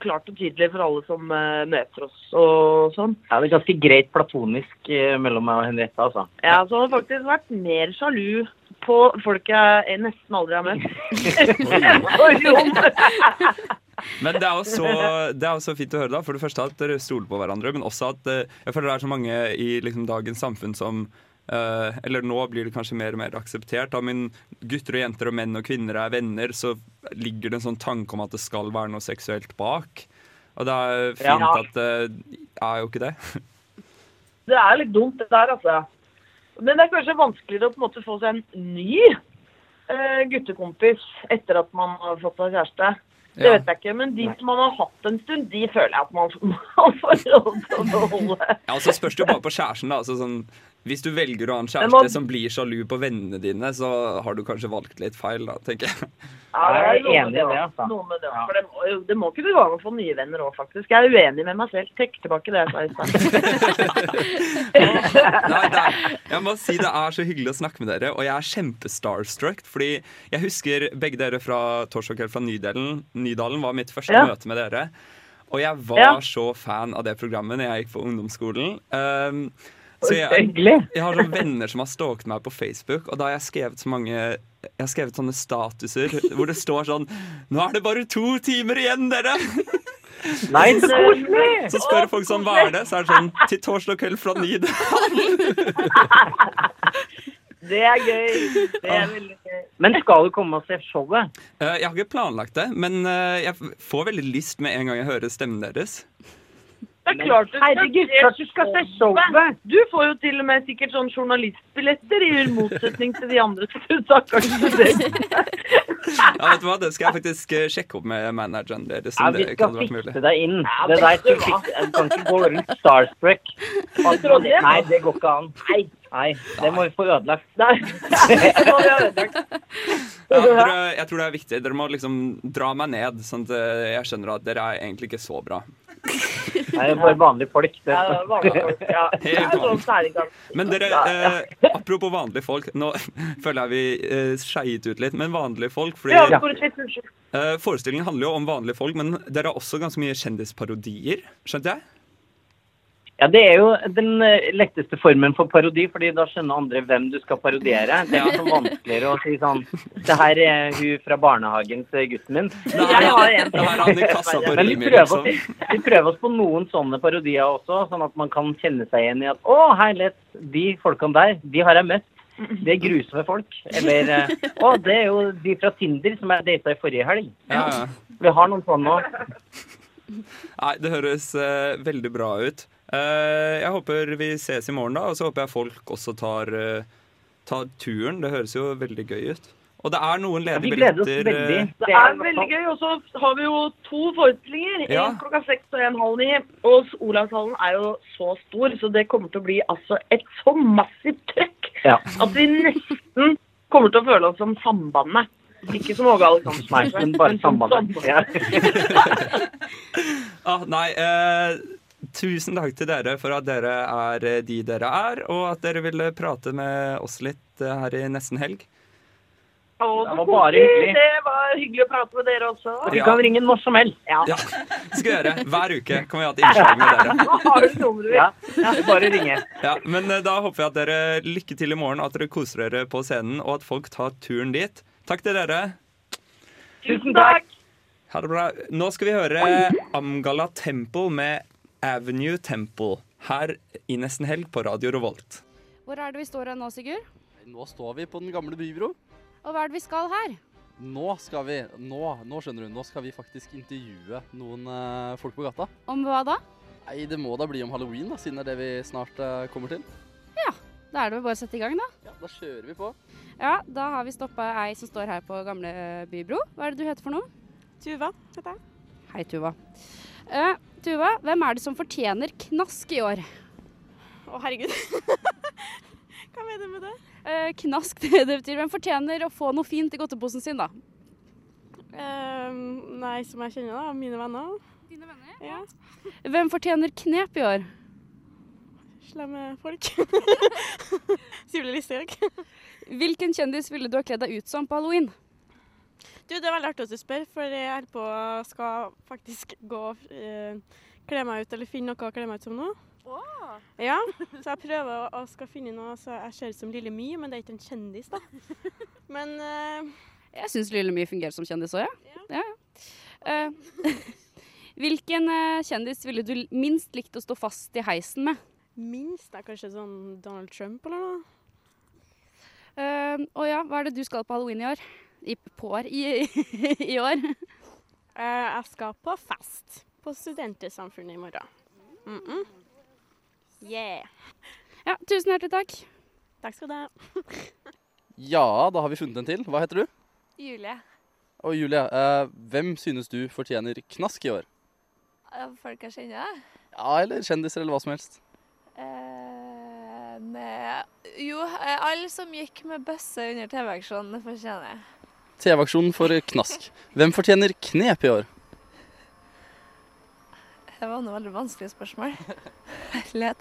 S10: klart og tydelig for alle som eh, møter oss og sånn.
S11: Ja, det er ganske greit platonisk eh, mellom meg og Henriette, altså.
S10: Ja, så han har faktisk vært mer sjalu på folk jeg nesten aldri har møtt. Og Jon.
S2: Men det er, jo så, det er jo så fint å høre, da. For det første at dere stoler på hverandre, men også at eh, jeg føler det er så mange i liksom, dagens samfunn som eh, Eller nå blir det kanskje mer og mer akseptert. Da, men gutter og jenter og menn og kvinner er venner, så ligger det en sånn tanke om at det skal være noe seksuelt bak. Og det er fint
S10: Ja.
S2: at det er jo ikke det.
S10: Det er litt dumt, det der, altså. Men det er kanskje vanskeligere å på en måte få seg en ny eh, guttekompis etter at man har fått seg kjæreste. Det
S2: Ja.
S10: vet jeg ikke, men de som man har hatt en stund, de føler jeg at man, *laughs* man får lov til å beholde.
S2: Ja, og så spørs det jo bare på kjæresten, da. Altså, sånn, hvis du velger å ha en
S10: Men
S2: kjæreste
S10: man-
S2: som blir sjalu på vennene dine, så har du kanskje valgt litt feil, da, tenker jeg.
S10: Ja,
S11: Jeg er
S10: det noe med
S11: enig i det,
S10: også.
S11: altså.
S10: Noe med det, også, for det, må, jo- det må ikke bli vanlig å få nye venner òg, faktisk. Jeg er uenig med meg selv. Trekk tilbake det jeg sa i stad.
S11: *laughs*
S2: Nei, det er, jeg må si det er så hyggelig å snakke med dere, og jeg er kjempestarstruck. Fordi jeg husker begge dere fra Torsdagskveld fra Nydalen. Nydalen var mitt første
S10: Ja.
S2: møte med dere. Og jeg var
S10: Ja.
S2: så fan av det programmet når jeg gikk på ungdomsskolen. Um, så jeg,
S11: Hyggelig.
S2: jeg har sånne venner som har stalket meg på Facebook, og da har jeg skrevet så mange jeg har skrevet sånne statuser hvor det står sånn Nå er det bare to timer igjen, dere!
S11: Nei, så koselig!
S2: Så spør folk sånn, hva er det? Så er det sånn Til torsdag kveld fra ni.
S10: Det er gøy. Det
S11: Ah.
S10: er veldig gøy.
S11: Men skal du komme og se showet?
S2: Eh, Jeg har ikke planlagt det, men eh, jeg f- får veldig lyst med en gang jeg hører stemmen deres.
S10: Det er klart du
S11: Herregud, klart du skal se showet!
S10: Du får jo til og med sikkert sånn journalistbilletter, i motsetning til de andre *laughs* stakkars studentene.
S2: Ja, vet du hva? Det skal jeg faktisk eh, sjekke opp med manageren deres.
S11: Ja,
S2: Om
S11: vi
S2: det
S11: skal
S2: kunne vært mulig.
S11: fikse deg inn. Det der skal fikse. Du kan ikke gå sånn rundt starstruck. Altså, det- Nei, det går ikke an. Nei, nei. Det må vi få ødelagt.
S10: *laughs* Nei, det må vi ha ødelagt.
S2: Ja, dere, jeg tror det er viktig. Dere må liksom dra meg ned, sånn at eh, jeg skjønner at dere er egentlig ikke så bra.
S11: Nei, det er bare vanlige folk. Det.
S10: Ja, det er vanlige folk, ja. Det er sånn særlig.
S2: Men dere, eh, apropos vanlige folk. Nå *laughs* føler jeg vi eh, skeiet ut litt, men vanlige folk fordi,
S10: Ja, for et litt unnskyld.
S2: eh, Forestillingen handler jo om vanlige folk, men dere har også ganske mye kjendisparodier, skjønte jeg?
S11: Ja, det er jo den eh, letteste formen for parodi, fordi da skjønner andre hvem du skal parodiere. Det er sånn vanskeligere å si sånn Det her er hun fra barnehagen til gutten min. Jeg har en
S2: Det her hadde kassa på
S11: Men vi
S2: rimet,
S11: prøver,
S2: liksom.
S11: oss, vi prøver oss på noen sånne parodier også, sånn at man kan kjenne seg igjen i at å, herlighet, de folkene der, de har jeg møtt. Det er grusomme folk. Eller eh, å, det er jo de fra Tinder som jeg data i forrige helg.
S2: Ja, ja.
S11: Vi har noen sånne òg.
S2: Nei, det høres eh, veldig bra ut. Eh, jeg håper vi ses i morgen, da. Og så håper jeg folk også tar, eh, tar turen. Det høres jo veldig gøy ut. Og det er noen ledige billetter. eh,
S10: Det er veldig gøy. Og så har vi jo to forestillinger. En
S2: Ja.
S10: klokka seks og en halv ni. Og Olavshallen er jo så stor, så det kommer til å bli altså et så massivt trøkk
S11: Ja.
S10: at vi nesten kommer til å føle oss som Sambandet. Ikke som Åge Aleksandersen.
S11: Nei, men bare sambandet. Ja.
S2: Ah, nei, eh, tusen takk til dere for at dere er eh, de dere er, og at dere ville prate med oss litt eh, her i nesten helg.
S10: Og
S11: Det
S10: så
S11: var bare
S10: koselig.
S11: hyggelig.
S10: Det var hyggelig å prate med dere også.
S2: Du kan
S11: ringe når som helst. Ja.
S2: ja. Skal gjøre. Hver uke kan vi ha et innslag med dere.
S10: Har du nummeret
S11: Ja, bare ringe.
S2: Ja, men eh, da håper jeg at dere lykke til i morgen, at dere koser dere på scenen, og at folk tar turen dit. Takk til dere.
S10: Tusen takk.
S2: Ha det bra. Nå skal vi høre Amgala Temple med Avenue Temple her i Nesten Helg på Radio Revolt.
S6: Hvor er det vi står her nå, Sigurd?
S5: Nå står vi på den gamle bybro.
S6: Og hva er det vi skal her?
S5: Nå skal vi, nå, nå skjønner du, nå skal vi faktisk intervjue noen eh, folk på gata.
S6: Om hva da?
S5: Nei, det må da bli om halloween, da, siden det er det vi snart eh, kommer til.
S6: Da er det vel bare å sette i gang, da.
S5: Ja, Da kjører vi på.
S6: Ja, da har vi stoppa ei som står her på gamle eh, bybro. Hva er det du heter for noe? Tuva heter jeg. Hei, Tuva. Eh, Tuva, hvem er det som fortjener knask i år? Å, herregud. *laughs* Hva mener du med det? Eh, knask, *laughs* det, det betyr hvem fortjener å få noe fint i godteposen sin, da. Ehm,
S12: nei, som jeg kjenner, da. Mine venner. Dine venner? Ja.
S6: Hvem fortjener knep i år?
S12: Slemme folk.
S6: Sivle Listhaug. Hvilken kjendis ville du ha kledd deg ut som på halloween?
S12: Du, det er veldig artig at du spør, for jeg holder på å skal faktisk gå og eh, kle meg ut, eller finne noe å kle meg ut som nå. Ja, så jeg prøver å- å skal finne noe så jeg ser ut som Lille My, men det er ikke en kjendis, da. Men eh,
S6: Jeg syns Lille My fungerer som kjendis òg, ja. ja. ja. Eh, *laughs* hvilken eh, kjendis ville du l- minst likt å stå fast i heisen med?
S12: minst er kanskje sånn Donald Trump eller noe.
S6: Eh, og ja, hva er det du skal på halloween i år? I, på år? I, *laughs* i, i år?
S12: Eh, jeg skal på fest på Studentersamfunnet i morgen. Mm -mm. Yeah.
S6: Ja, tusen hjertelig takk.
S12: Takk skal du ha.
S5: Ja, da har vi funnet en til. Hva heter du?
S13: Julie.
S5: Og Julia, eh, hvem synes du fortjener knask i år?
S13: Eh, Folk jeg kjenner?
S5: Ja, eller kjendiser, eller hva som helst.
S13: Eh, nei. Jo, eh, alle som gikk med bøsse under TV-aksjonen, fortjener jeg.
S5: TV-aksjonen for knask. Hvem fortjener knep i år?
S13: Det var noe veldig vanskelig spørsmål. Herlighet.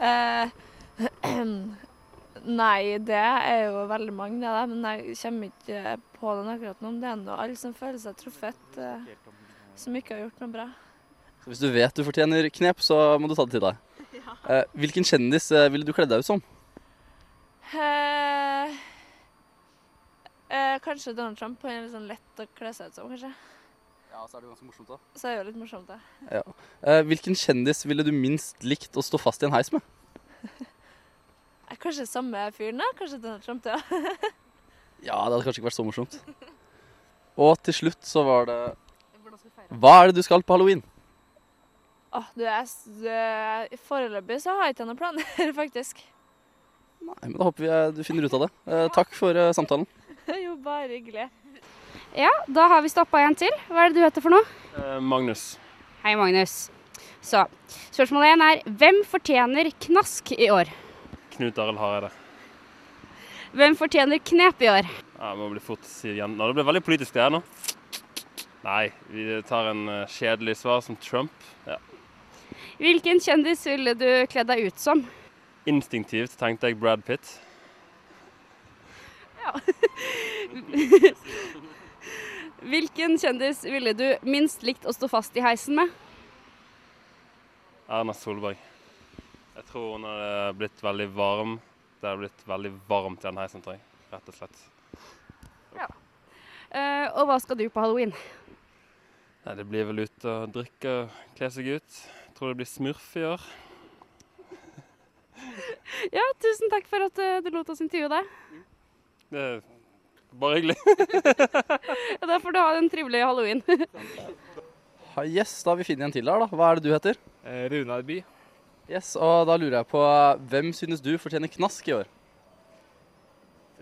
S13: Eh, *clears throat* nei, det er jo veldig mange, det da, men jeg kommer ikke på den akkurat nå. Men det er nå alle som føler seg truffet, eh, som ikke har gjort noe bra.
S5: Så hvis du vet du fortjener knep, så må du ta det til deg. Eh, hvilken kjendis eh, ville du kledd deg ut som?
S13: Eh, eh, kanskje Donald Trump. Han er litt sånn lett å kle seg ut som, kanskje.
S5: Ja, så er det ganske morsomt da.
S13: Så er det jo litt morsomt, da.
S5: Ja. Eh, hvilken kjendis ville du minst likt å stå fast i en heis med?
S13: Eh, Kanskje samme fyren, da? Kanskje Donald Trump, det òg.
S5: Ja, det hadde kanskje ikke vært så morsomt. Og til slutt så var det Hva er det du skal på halloween?
S13: Åh, du, jeg s- det- Foreløpig så har jeg ikke noen planer, *laughs* faktisk.
S5: Nei, men Da håper vi eh, du finner ut av det. Eh, takk for eh, samtalen.
S13: jo, bare hyggelig.
S6: Ja, da har vi stoppa en til. Hva er det du heter for noe?
S14: Eh, Magnus.
S6: Hei, Magnus. Så spørsmål én er hvem fortjener knask i år?
S14: Knut Arild Hareide.
S6: Hvem fortjener knep i år?
S14: Ja, må bli fort si igjen. Nå, det ble veldig politisk det her nå. Nei, vi tar en eh, kjedelig svar som Trump. Ja.
S6: Hvilken kjendis ville du kledd deg ut som?
S14: Instinktivt tenkte jeg Brad Pitt.
S6: Hvilken kjendis ville du minst likt å stå fast i heisen med?
S14: Erna Solberg. Jeg tror hun hadde blitt veldig varm. Det hadde blitt veldig varmt i den heisen, tror jeg. Rett og slett.
S6: Eh, og hva skal du på halloween?
S14: Nei, det blir vel ut og drikke og kle seg ut. Jeg tror det blir smurf i år.
S6: Ja, tusen takk for at eh, du lot oss intervjue deg.
S14: Det er bare hyggelig.
S6: *laughs* Ja, Da får du ha en trivelig halloween.
S5: Ha- Yes, da har vi funnet en til her, da. Hva er det du heter?
S15: Eh,
S5: Runar By. Yes, og da lurer jeg på hvem synes du fortjener knask i år?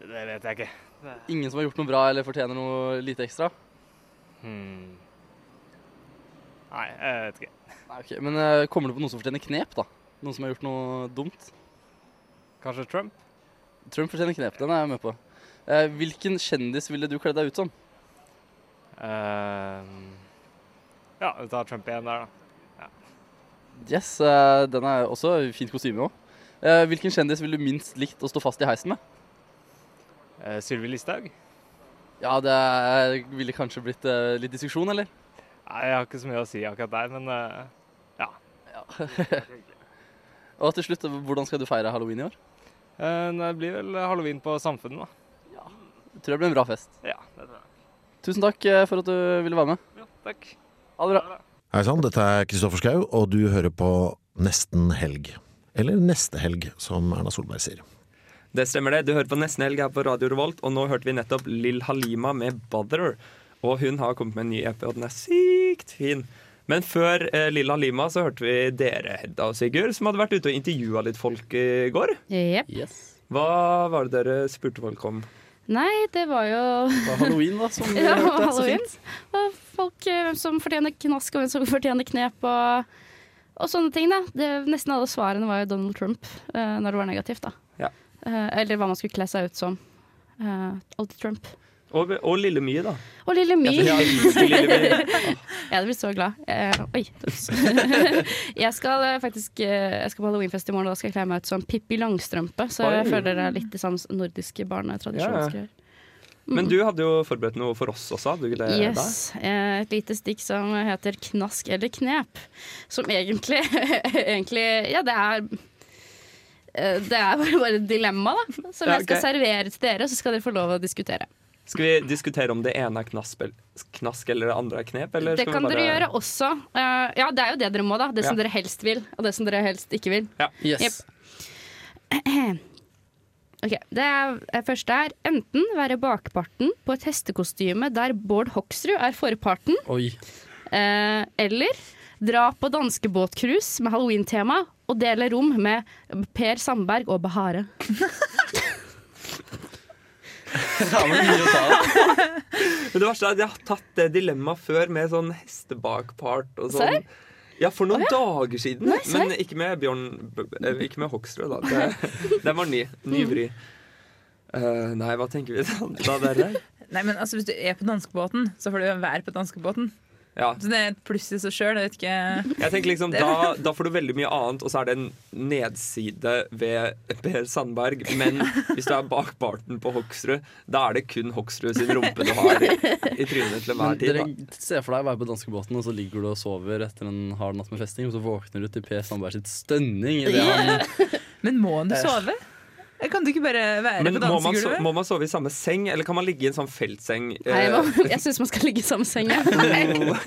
S15: Det vet jeg ikke.
S5: Ingen som har gjort noe bra eller fortjener noe lite ekstra?
S15: Hmm. Nei, jeg vet ikke.
S5: Nei, ok, Men eh, kommer du på noen som fortjener knep, da? Noen som har gjort noe dumt? Kanskje Trump? Trump fortjener knep, den er jeg med på. Eh, hvilken kjendis ville du kledd deg ut som?
S14: eh,
S15: Ja, vi tar Trump igjen der, da. Ja.
S5: Yes, eh, den er også fint kostyme òg. Eh, hvilken kjendis ville du minst likt å stå fast i heisen med?
S15: Eh, Sylvi Listhaug?
S5: Ja, det er- ville kanskje blitt eh, litt diskusjon, eller?
S15: Nei, jeg har ikke så mye å si akkurat der, men eh, ja.
S5: Og til slutt, hvordan skal du feire halloween i år?
S15: Eh, det blir vel halloween på Samfunnet, da.
S5: Jeg tror det blir en bra fest.
S15: Ja, det tror jeg.
S5: Tusen takk eh, for at du ville være med. Ja,
S15: takk.
S5: Ha det bra.
S16: Hei sann, dette er Kristoffer Schau, og du hører på Nesten helg. Eller Neste helg, som Erna Solberg sier.
S2: Det stemmer det. Du hører på Nesten Helg her på Radio Revolt, og nå hørte vi nettopp Lill Halima med 'Bother'. Og hun har kommet med en ny EP, og den er sykt fin. Men før eh, Lill Halima så hørte vi dere, Hedda og Sigurd, som hadde vært ute og intervjua litt folk i går.
S6: Jepp.
S2: Hva var det dere spurte folk om?
S6: Nei, det var jo
S5: Det var halloween, da, som vi
S6: *laughs* Ja, det var
S5: hørte. Så
S6: halloween.
S5: fint.
S6: Og folk eh, hvem som fortjener knask, og hvem som *laughs* fortjener knep, og, og sånne ting. da. Det, nesten alle svarene var jo Donald Trump eh, når det var negativt. da.
S2: Ja.
S6: Eh, eller hva man skulle kle seg ut som. Eh, alltid Trump.
S2: Og, og Lille My, da.
S6: Og Lille My.
S2: Ja,
S6: *laughs*
S2: for jeg elsker Lille My.
S6: jeg blir så glad. Eh, oi. ups. *laughs* jeg skal eh, faktisk eh, Jeg skal på halloweenfest i morgen, og da skal jeg kle meg ut som Pippi Langstrømpe. Så jeg
S2: Oi.
S6: føler det er litt i samme nordiske barnetradisjon.
S2: Ja, ja.
S6: skal jeg gjøre.
S2: Men du hadde jo forberedt noe for oss også, hadde du ikke det? Hedda?
S6: Mm. Yes. eh, Et lite stikk som heter knask eller knep. Som egentlig, *laughs* egentlig Ja, det er eh, det er bare- bare et dilemma da, som
S2: Ja,
S6: jeg skal
S2: ok.
S6: servere til dere, så skal dere få lov å diskutere.
S2: Skal vi diskutere om det ene er knask, knask eller det andre er knep? Eller
S6: det
S2: skal vi
S6: kan dere
S2: bare-
S6: gjøre også. Eh, ja, det er jo det dere må, da. Det som
S2: Ja.
S6: dere helst vil, og det som dere helst ikke vil.
S5: Yes.
S6: Jepp. Ok, Det er- eh, første er enten være bakparten på et hestekostyme der Bård Hoksrud er forparten.
S5: *laughs* Oi.
S6: Eh, eller dra på danskebåtcruise med halloween-tema og dele rom med Per Sandberg og Bahare.
S5: *laughs*
S2: Men det verste er at jeg har tatt det dilemmaet før med sånn hestebakpart og sånn.
S6: Serr?
S2: Ja, for noen dager siden.
S6: Nei, serr?
S2: men ikke med Bjørn eh, Ikke med Hoksrud, da.
S6: *laughs*
S2: Det, den var ny.
S6: Mm.
S2: Ny vri. Eh, nei, hva tenker vi da, da dere?
S6: *laughs*
S7: Nei, men altså, Hvis du er på danskebåten, så får du jo være på danskebåten.
S2: Ja.
S7: Så det er et pluss i seg sjøl. Jeg vet ikke
S2: Jeg tenker liksom,
S7: Det-
S2: da, da får du veldig mye annet, og så er det en nedside ved Per Sandberg. Men hvis du er bak barten på Hoksrud, da er det kun Hoksrud sin rumpe du har i, i trynet til
S5: Men
S2: enhver tid.
S5: dere
S2: Da.
S5: ser for deg å være på danskebåten, og så ligger du og sover etter en hard natt med festing, og så våkner du til Per Sandberg sitt stønning. i Det han,
S7: *laughs* Men må du
S5: Eh.
S7: sove? Kan du ikke bare være
S2: Men
S7: på
S2: må man, so
S7: dansegulvet?
S2: må man sove i samme seng, eller kan man ligge i en sånn feltseng?
S6: Nei,
S2: eh,
S6: man- *laughs* jeg syns man skal ligge i samme seng.
S5: Oh.
S6: jeg.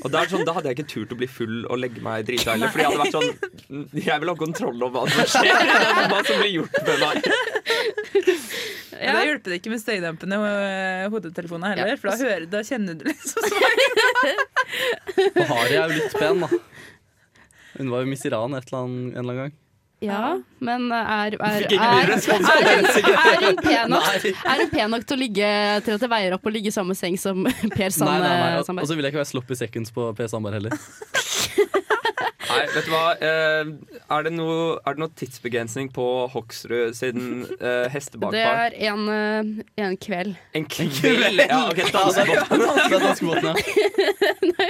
S2: Og da, er det sånn, da hadde jeg ikke turt å bli full og legge meg drita heller. Fordi jeg hadde vært sånn Jeg vil ha kontroll over hva som skjer. Hva som blir gjort med meg.
S7: Ja. Da hjelper det ikke med støydempende øh, hodetelefoner heller,
S5: Ja.
S7: for da, hører, da kjenner du
S6: *laughs*
S7: liksom
S5: og Hari er jo litt pen, da. Hun var jo Miss Iran et eller annet, en eller annen gang.
S6: *laughs* Ja, men er, er, er,
S5: Fikk ikke mye
S6: er,
S5: respons på
S6: er,
S5: den, Sigurd.
S6: *laughs* er hun pen nok,
S5: Nei.
S6: er hun pen nok til, å ligge, til at det veier opp å ligge i samme seng som *laughs* Per
S5: Nei, nei, nei. Altså,
S6: Sand- eh,
S5: Og og
S6: Sandberg?
S5: så vil jeg ikke være sloppy seconds på Per Sandberg heller.
S2: Nei, vet du hva. Eh, Er det noe, er det noe tidsbegrensning på Hoksrud sin eh,
S6: Det
S2: hestebakpart?
S6: er en, eh, en kveld.
S2: En kveld! *laughs* Ja, ok,
S5: *laughs*
S2: dansebåten.
S5: Det er danskebåten, ja.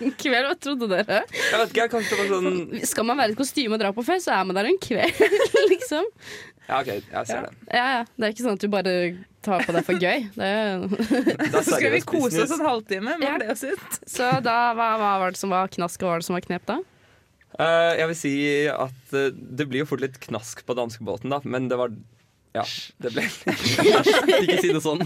S6: En kveld, hva trodde dere?
S2: Jeg vet ikke, jeg kanskje det var sånn
S6: Skal man være i et kostyme og dra på fest, så er man der en kveld, *laughs* liksom.
S2: Ja, OK, jeg ser det.
S6: Ja, ja. Det er ikke sånn at du bare tar på det for gøy. Det
S7: Så skal vi kose oss sånn. en halvtime, men det er også ut.
S6: Så da, hva, hva var det som var knask, og hva var det som var knep da?
S2: Eh, jeg vil si at eh, det blir jo fort litt knask på danskebåten, da, men det var Ja, det ble
S5: Ikke si det sånn.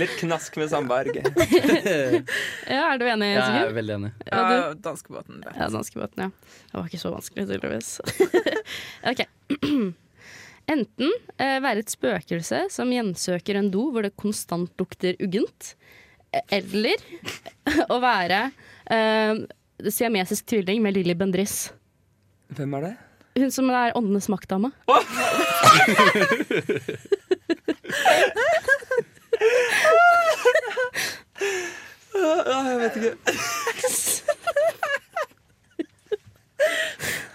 S2: litt knask med Sandberg.
S6: Ja, er du enig, Sigurd?
S5: veldig enig.
S6: Ja,
S7: Ja,
S6: du-
S7: danskebåten.
S6: Ja, danskebåten, ja. Det var ikke så vanskelig, tydeligvis. *laughs* ok. *clears throat* Enten eh, være et spøkelse som gjensøker en do hvor det konstant lukter uggent, eh, eller *laughs* å være eh, siamesisk tvilling med Lilly Bendriss.
S2: Hvem er det?
S6: Hun som er åndenes maktdame.
S2: jeg vet ikke.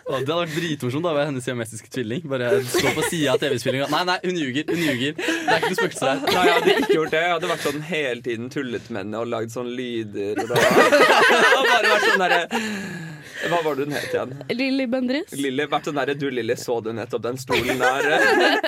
S5: Å, det hadde vært dritmorsomt da, å være hennes siamesiske tvilling. Bare stå på sida av TV-spillinga. Nei, nei, hun ljuger. Hun ljuger. Det er ikke noe spøkelse her.
S2: Nei, jeg hadde ikke gjort det. Jeg hadde vært sånn hele tiden tullet med henne og lagd sånne lyder. Og da. *laughs* Og bare vært sånn derre Hva var det hun het igjen?
S6: Lilly Bendriss.
S2: Lilly. Vært sånn derre Du, Lilly, så du nettopp den stolen der?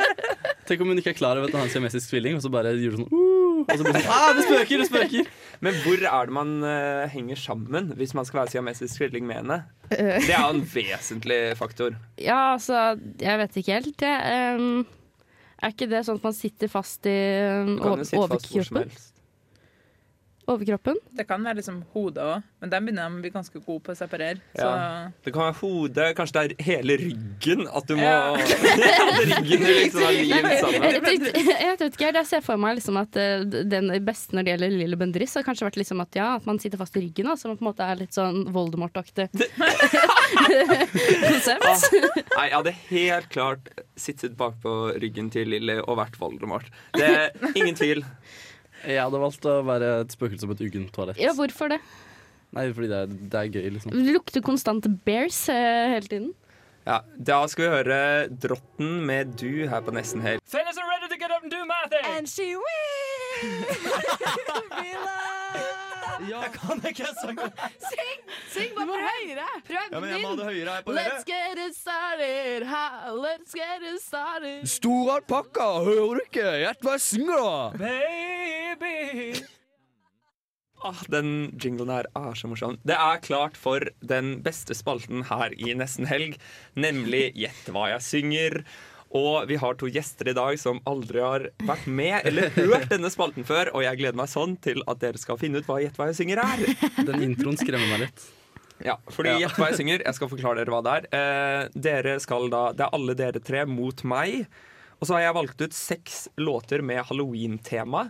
S5: Tenk om hun ikke er klar over at hun har en siamesisk tvilling, og så bare gjør hun sånn uh, Og så blir hun sånn ah, det spøker, det spøker.
S2: Men hvor er det man eh, henger sammen hvis man skal være siamesisk tvilling med henne? Det er jo en vesentlig faktor.
S6: Ja, altså, jeg vet ikke helt. Jeg, ehm, er ikke det sånn at man sitter fast i um,
S2: Du kan jo sitte fast hvor som
S6: overkroppen?
S2: helst.
S6: Overkroppen?
S7: Det kan være liksom hodet òg, men den begynner de å bli ganske gode på å separere. Så
S2: Ja. Det kan være hodet, kanskje det er hele ryggen. At du må *laughs*
S7: Ja.
S2: At ryggen liksom er
S6: Jeg,
S2: livet sammen.
S6: jeg, tenkte- jeg vet ikke, helt. jeg ser for meg liksom at eh, den beste når det gjelder Lille Bendriss, har kanskje vært liksom at, ja, at man sitter fast i ryggen, da, så man på en måte er litt sånn Voldemort-aktig. *laughs*
S2: Ah, nei, jeg hadde helt klart sittet bakpå ryggen til Lilly og vært Voldemort. Det er ingen tvil.
S5: Jeg hadde valgt å være et spøkelse på et uggent toalett.
S6: Ja, hvorfor det?
S5: Nei, fordi det er, det er gøy, liksom.
S6: Det lukter konstant bears eh, hele tiden.
S2: Ja, da skal vi høre Drotten med Du her på Nesten Helg.
S15: Fellas are ready to get up and do my thing. And she will be loved. Jeg kan ikke jeg sangen.
S6: Syng! Syng bare prøv! Prøv
S15: Ja, men jeg må ha det høyere her på dere.
S6: Let's get it started, ha, let's get it started.
S8: Stor alpakka, hører du ikke? Gjett hva jeg synger, da!
S15: Baby.
S2: Ah, den jinglen her er så morsom. Det er klart for den beste spalten her i Nesten Helg, nemlig Gjett hva jeg synger. Og vi har to gjester i dag som aldri har vært med eller hørt denne spalten før, og jeg gleder meg sånn til at dere skal finne ut hva Gjett hva jeg synger er.
S5: Den introen skremmer meg litt.
S2: Ja, fordi
S5: Ja.
S2: Gjett hva jeg synger. Jeg skal forklare dere hva det er. Eh, dere skal da, Det er alle dere tre mot meg. Og så har jeg valgt ut seks låter med halloween-tema.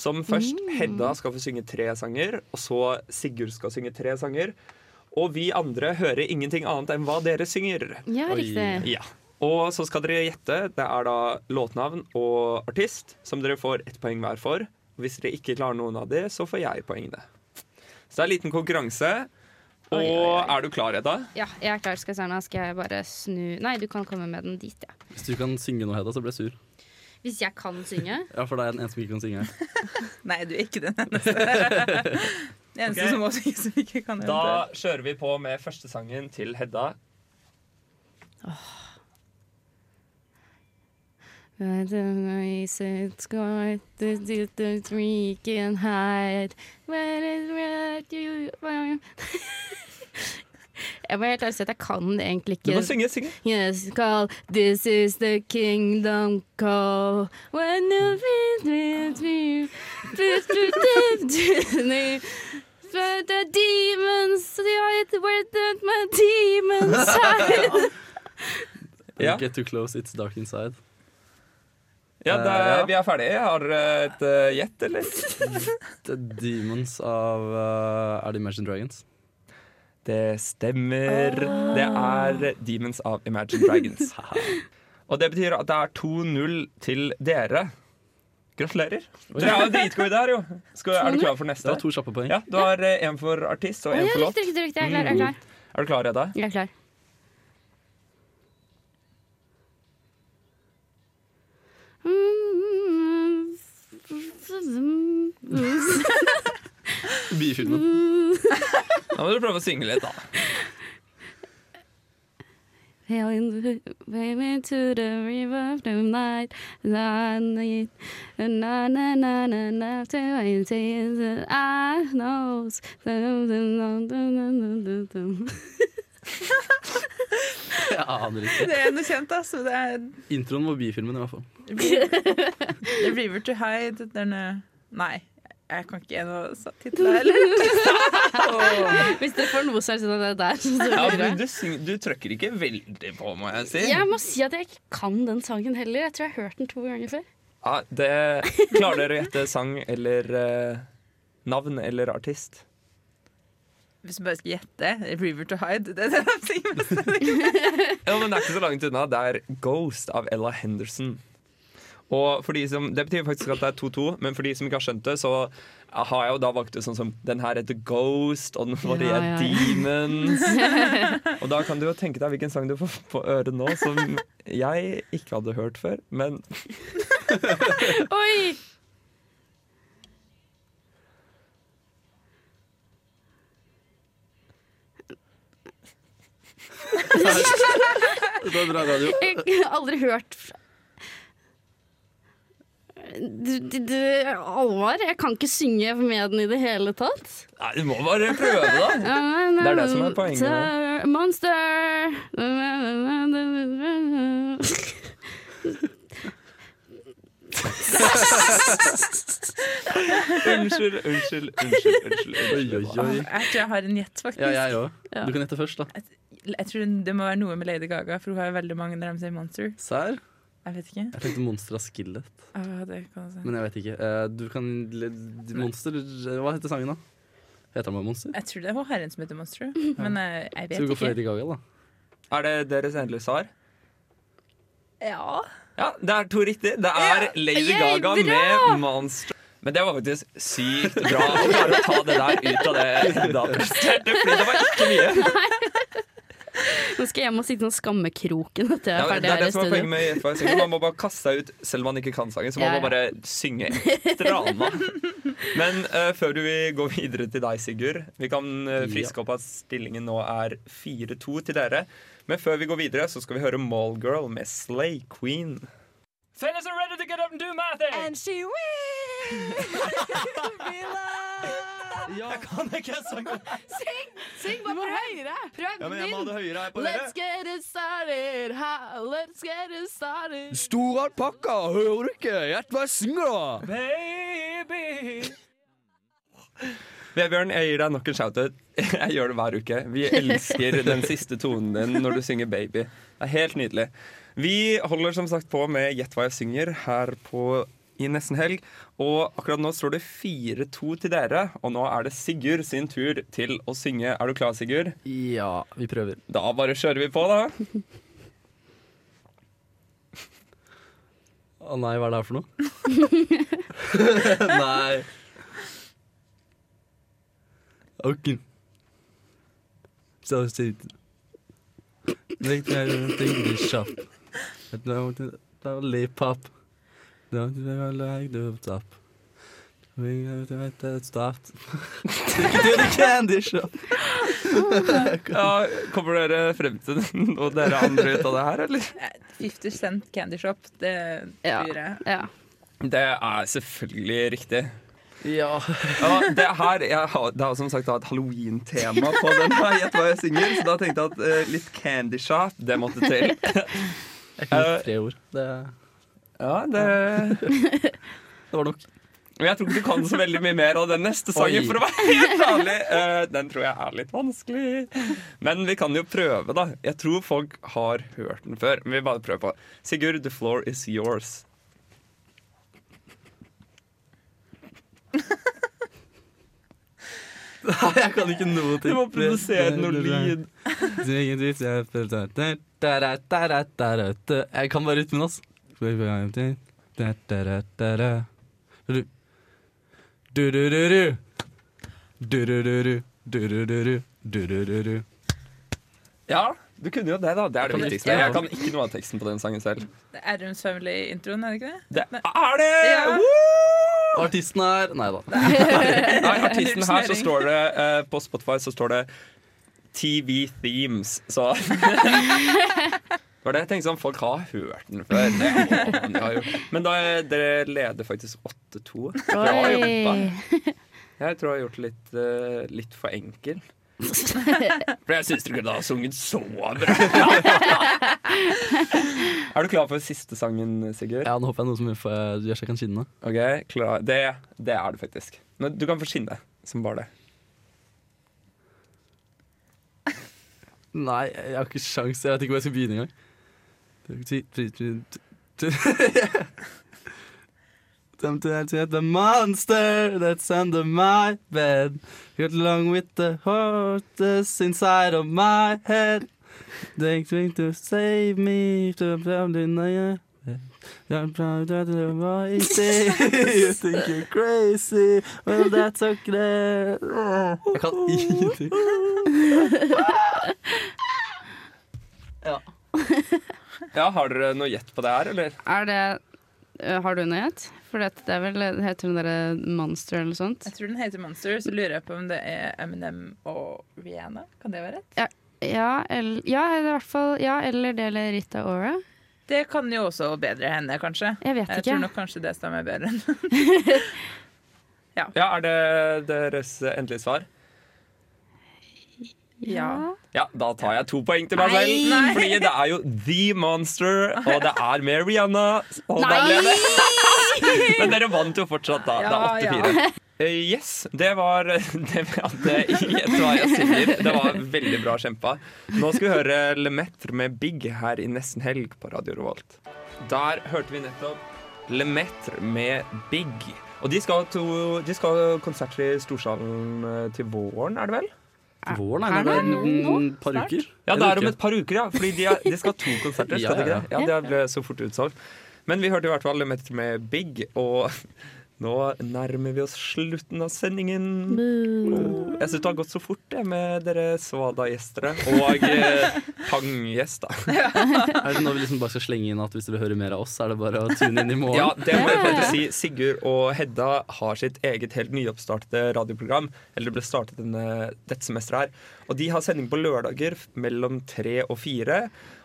S2: Som først Hedda skal få synge tre sanger, og så Sigurd skal synge tre sanger. Og vi andre hører ingenting annet enn hva dere synger.
S6: Ja, Oi. riktig.
S2: Ja. Og så skal dere gjette. Det er da låtnavn og artist, som dere får ett poeng hver for. Hvis dere ikke klarer noen av de, så får jeg poengene. Så det er en liten konkurranse. Og er du klar, Edda?
S6: Ja, jeg er klar, skal jeg se her nå. Skal jeg bare snu Nei, du kan komme med den dit, ja.
S5: Hvis du kan synge noe, Hedda, så blir jeg sur.
S6: Hvis jeg kan *laughs* synge.
S5: Ja, for da er jeg den eneste som ikke kan synge her.
S7: Nei, du er ikke den eneste. *laughs* Den eneste
S2: Ok.
S7: som må synge som ikke kan
S2: Da kjører vi på med første sangen til Hedda.
S6: But then I said, God, the distance we can hide. Where is where you Jeg må helt ærlig si at jeg kan egentlig ikke
S2: Du må synge, synge.
S6: Yes, call, this is the kingdom call. When you feel with me, please protect me. But the demons, where the my demons hide.
S5: Get too close, it's dark inside.
S2: Ja,
S5: Eh,
S2: da,
S5: ja.
S2: Vi er ferdige. Jeg har eh, et eh, gjett, eller?
S5: The Demons av eh, Er det Imagine Dragons?
S2: Det stemmer. Det er Demons av Imagine Dragons. *laughs* Og det betyr at det er 2-0 til dere. Gratulerer. Dere er jo dritgode der, jo. Skal, er du klar for neste?
S5: Det var to kjappe poeng.
S2: Ja, Du har eh, en for artist og
S6: Å,
S2: en
S6: ja,
S2: for låt.
S6: riktig, riktig, riktig. Jeg er klar, jeg er klar.
S2: Er du klar, Edda?
S6: Jeg er klar. Mm, mm.
S5: Bifilmen.
S2: Da må du prøve å synge litt, da.
S6: Hailing baby to the river tonight. Na na na na na na na to I see that I knows.
S5: Jeg aner
S7: Det
S5: ikke.
S7: er noe kjent, altså. Det er
S5: Introen var bifilmen, i hvert fall.
S6: *laughs*
S7: The River to Hide den, eh, Nei, jeg kan ikke noe
S6: *laughs*
S7: tittel heller.
S6: Hvis dere får noe seriøst av det der, så
S7: Ja,
S6: blir det
S7: men
S2: Du, syng- du trøkker ikke veldig på, må jeg si.
S6: Jeg må si at jeg ikke kan den sangen heller. Jeg tror jeg har hørt den to ganger før.
S2: Ja, det, klarer dere å gjette sang eller eh, navn eller artist?
S7: Hvis du bare skal gjette River to Hide Det er det de sier mest.
S2: Ja, men det er ikke så langt unna. Det er Ghost av Ella Henderson. Og for de som, Det betyr faktisk at det er 2-2, men for de som ikke har skjønt det, så har jeg jo da valgt ut sånn som Den her heter Ghost, og den forrige
S6: ja, ja.
S2: er Demons.
S6: *laughs*
S2: Og da kan du jo tenke deg hvilken sang du får på øret nå, som jeg ikke hadde hørt før. Men
S6: Oi!
S5: Det er bra radio.
S6: Jeg har aldri hørt fra- du, du, du, Alvor, jeg kan ikke synge med den i det hele tatt.
S2: Nei, du må bare prøve, da. Det er det som er poenget. nå.
S6: Monster,
S2: *laughs*
S6: Monster
S2: Unnskyld, unnskyld, unnskyld. unnskyld, unnskyld.
S7: Jeg tror jeg har en gjett, faktisk.
S5: Ja, jeg òg. Du kan gjette først, da.
S7: Jeg tror det må være noe med Lady Gaga, for hun har jo veldig mange når de sier Monster.
S5: Serr?
S7: Jeg vet ikke.
S5: Jeg tenkte Monster av Skillet,
S7: Ah, det kan jeg si.
S5: men jeg vet ikke. Eh, Du kan le- Monster Hva heter sangen, da? Heter den bare Monster?
S7: Jeg tror det er hun har en som heter Monster, men eh,
S5: Skal
S7: jeg
S5: vi
S7: vet
S5: gå for Lady
S7: ikke.
S5: Gaga, da?
S2: Er det deres endelige svar?
S7: Ja.
S2: Ja, det er to riktig. Det er Lady
S7: Yay,
S2: Gaga
S7: bra!
S2: med Monster. Men det var faktisk sykt bra å klare å ta det der ut av det Hedda presterte, fordi det var ikke mye.
S6: Nå skal jeg hjem og sitte i den skammekroken etter jeg
S2: Ja,
S6: er
S2: men det
S6: ferdig
S2: er
S6: her
S2: det
S6: i
S2: som er poenget
S6: studio.
S2: med Jeff Weissing. Man må bare kaste seg ut selv om man ikke kan sangen. Så man
S6: Ja,
S2: må bare synge etter anna.
S6: *laughs*
S2: Men eh, før du vil gå videre til deg, Sigurd Vi kan eh, friske opp at stillingen nå er 4-2 til dere. Men før vi går videre, så skal vi høre Mallgirl med Slay Queen.
S15: Fellas are ready to get up and do my thing. And she
S2: *laughs*
S6: *laughs*
S15: will be loved.
S2: Jeg kan ikke sangen.
S6: Syng! Syng, bare prøv! Høyere. Prøv
S2: Ja, men jeg må ha det høyere her på
S6: Let's
S2: øret.
S6: get it started, ha, let's get it started.
S8: Store alpakka, hører du ikke? Gjett hva jeg synger, da!
S15: Baby.
S2: Vebjørn, jeg gir deg nok en shoutout. *laughs* Jeg gjør det hver uke. Vi elsker den siste tonen din når du synger 'Baby'. Det er helt nydelig. Vi holder som sagt på med 'Gjett hva jeg synger' her på i nesten helg. Og akkurat nå står det 4-2 til dere, og nå er det Sigurd sin tur til å synge. Er du klar, Sigurd?
S5: Ja, vi prøver.
S2: Da bare kjører vi på, da.
S5: Å nei, hva er det her for noe? *laughs* nei. Ok. Så sitt. Legg deg og tenk deg kjapp. Et langt lollipop. Don't you ever like to stop. We have to let that start. Take it to the candy shop.
S2: Ja, kommer dere frem til *laughs* noe dere andre ut av det her, eller?
S7: 50 Cent Candy Shop, det tror jeg.
S2: Det er selvfølgelig riktig.
S5: Ja.
S2: det, her, jeg har, det er jo som sagt da et halloween-tema på den her, gjett hva jeg synger, så da tenkte jeg at eh, litt candy shop, det måtte til.
S5: Ikke tre ord. Det,
S2: Ja, det
S5: det var nok.
S2: Men jeg tror ikke du kan så veldig mye mer av den neste sangen,
S5: Oi.
S2: for å være helt ærlig. Eh, den tror jeg er litt vanskelig. Men vi kan jo prøve, da. Jeg tror folk har hørt den før. Men vi bare prøver på. Sigurd, the floor is yours.
S5: Nei, jeg kan ikke noe til.
S2: Du må produsere noe lyd.
S5: Jeg kan bare rytmen, altså. Du-du-du-du. Du-du-du-du. Du-du-du-du. Du-du-du-du.
S2: Ja, du kunne jo det, da. Det
S5: Jeg
S2: er det
S5: kan
S2: viktigste.
S5: ikke-
S2: Jeg kan ikke noe av teksten på den sangen selv.
S7: Det er Adams Family-introen, er det ikke det?
S2: Det er det!
S7: Ja.
S5: Artisten er Nei da.
S2: Nei, artisten her så står det eh, På Spotify så står det TV Themes, så Det var det jeg tenkte sånn, folk har hørt den før. Det må man jo. Men da er- dere leder faktisk 8-2. Bra
S6: Oi.
S2: jobba. Jeg tror jeg har gjort det litt, eh, litt for enkel. For jeg syns dere kunne ha sunget så bra. er du klar for siste sangen, Sigurd?
S5: Ja, nå håper jeg noe som gjør for- gjør så jeg kan skinne.
S2: Ok, klar. Det, det er du faktisk. Men du kan få skinne som bare det.
S5: Nei, jeg har ikke sjans. Jeg vet ikke hvor jeg skal begynne engang. Ti- ti- ti- *laughs* ti- Tempted to the monster that's under my bed. Got along with the horses inside of my head. They think to save me from the night. I'm proud of the voice. You think you're crazy. Well, that's okay. Jeg kan ingenting.
S2: Ja, Har dere noe gjett på det her, eller?
S6: Er det øh, Har du noe gjett? For det det er vel Heter den derre Monster eller noe sånt?
S7: Jeg tror den heter Monster, så lurer jeg på om det er Eminem og Rihanna. Kan det være rett?
S6: Ja, ja, eller, ja, eller i hvert fall Ja, eller det eller Rita Ora.
S7: Det kan jo også bedre henne, kanskje.
S6: Jeg vet
S7: Jeg
S6: ikke.
S7: tror nok kanskje det stemmer bedre.
S2: Ja. Er det deres endelige svar?
S7: *laughs* Ja.
S2: Ja, da tar jeg to poeng til meg
S7: Nei!
S2: selv.
S7: Nei.
S2: Fordi det er jo The Monster, og det er med Rihanna. Og da
S6: Nei!
S2: ble det. *laughs* Men dere vant jo fortsatt, da. det
S6: Ja,
S2: er 8-4.
S6: ja.
S2: Eh, yes, det var *laughs* det vi hadde i Gjett hva jeg sier. Det var veldig bra kjempa. Nå skal vi høre Lemaitre med Big her i Nesten Helg på Radio Revolt. Der hørte vi nettopp Lemaitre med Big. Og de skal ha to- de skal ha konsert i Storsalen eh, til våren, er det vel?
S5: Våren er det om et par uker.
S2: Ja, det er om et par uker, ja. Fordi de, er, de skal ha *laughs* to konserter, skal de
S5: Ja, ja,
S2: ikke det? Ja, det ble så fort utsolgt. Men vi hørte i hvert fall med, med Big, og *laughs* nå nærmer vi oss slutten av sendingen. Åh, Jeg syns det har gått så fort, det, med dere Svada-gjestere. Og *laughs* eh, pang-gjest, da.
S5: Er det nå vi liksom bare skal slenge inn at hvis dere hører mer av oss, så er det bare å tune inn i morgen?
S2: Ja, det må jeg faktisk si. Sigurd og Hedda har sitt eget helt nyoppstartede radioprogram. Eller det ble startet denne, dette semesteret her. Og de har sending på lørdager f- mellom tre og fire.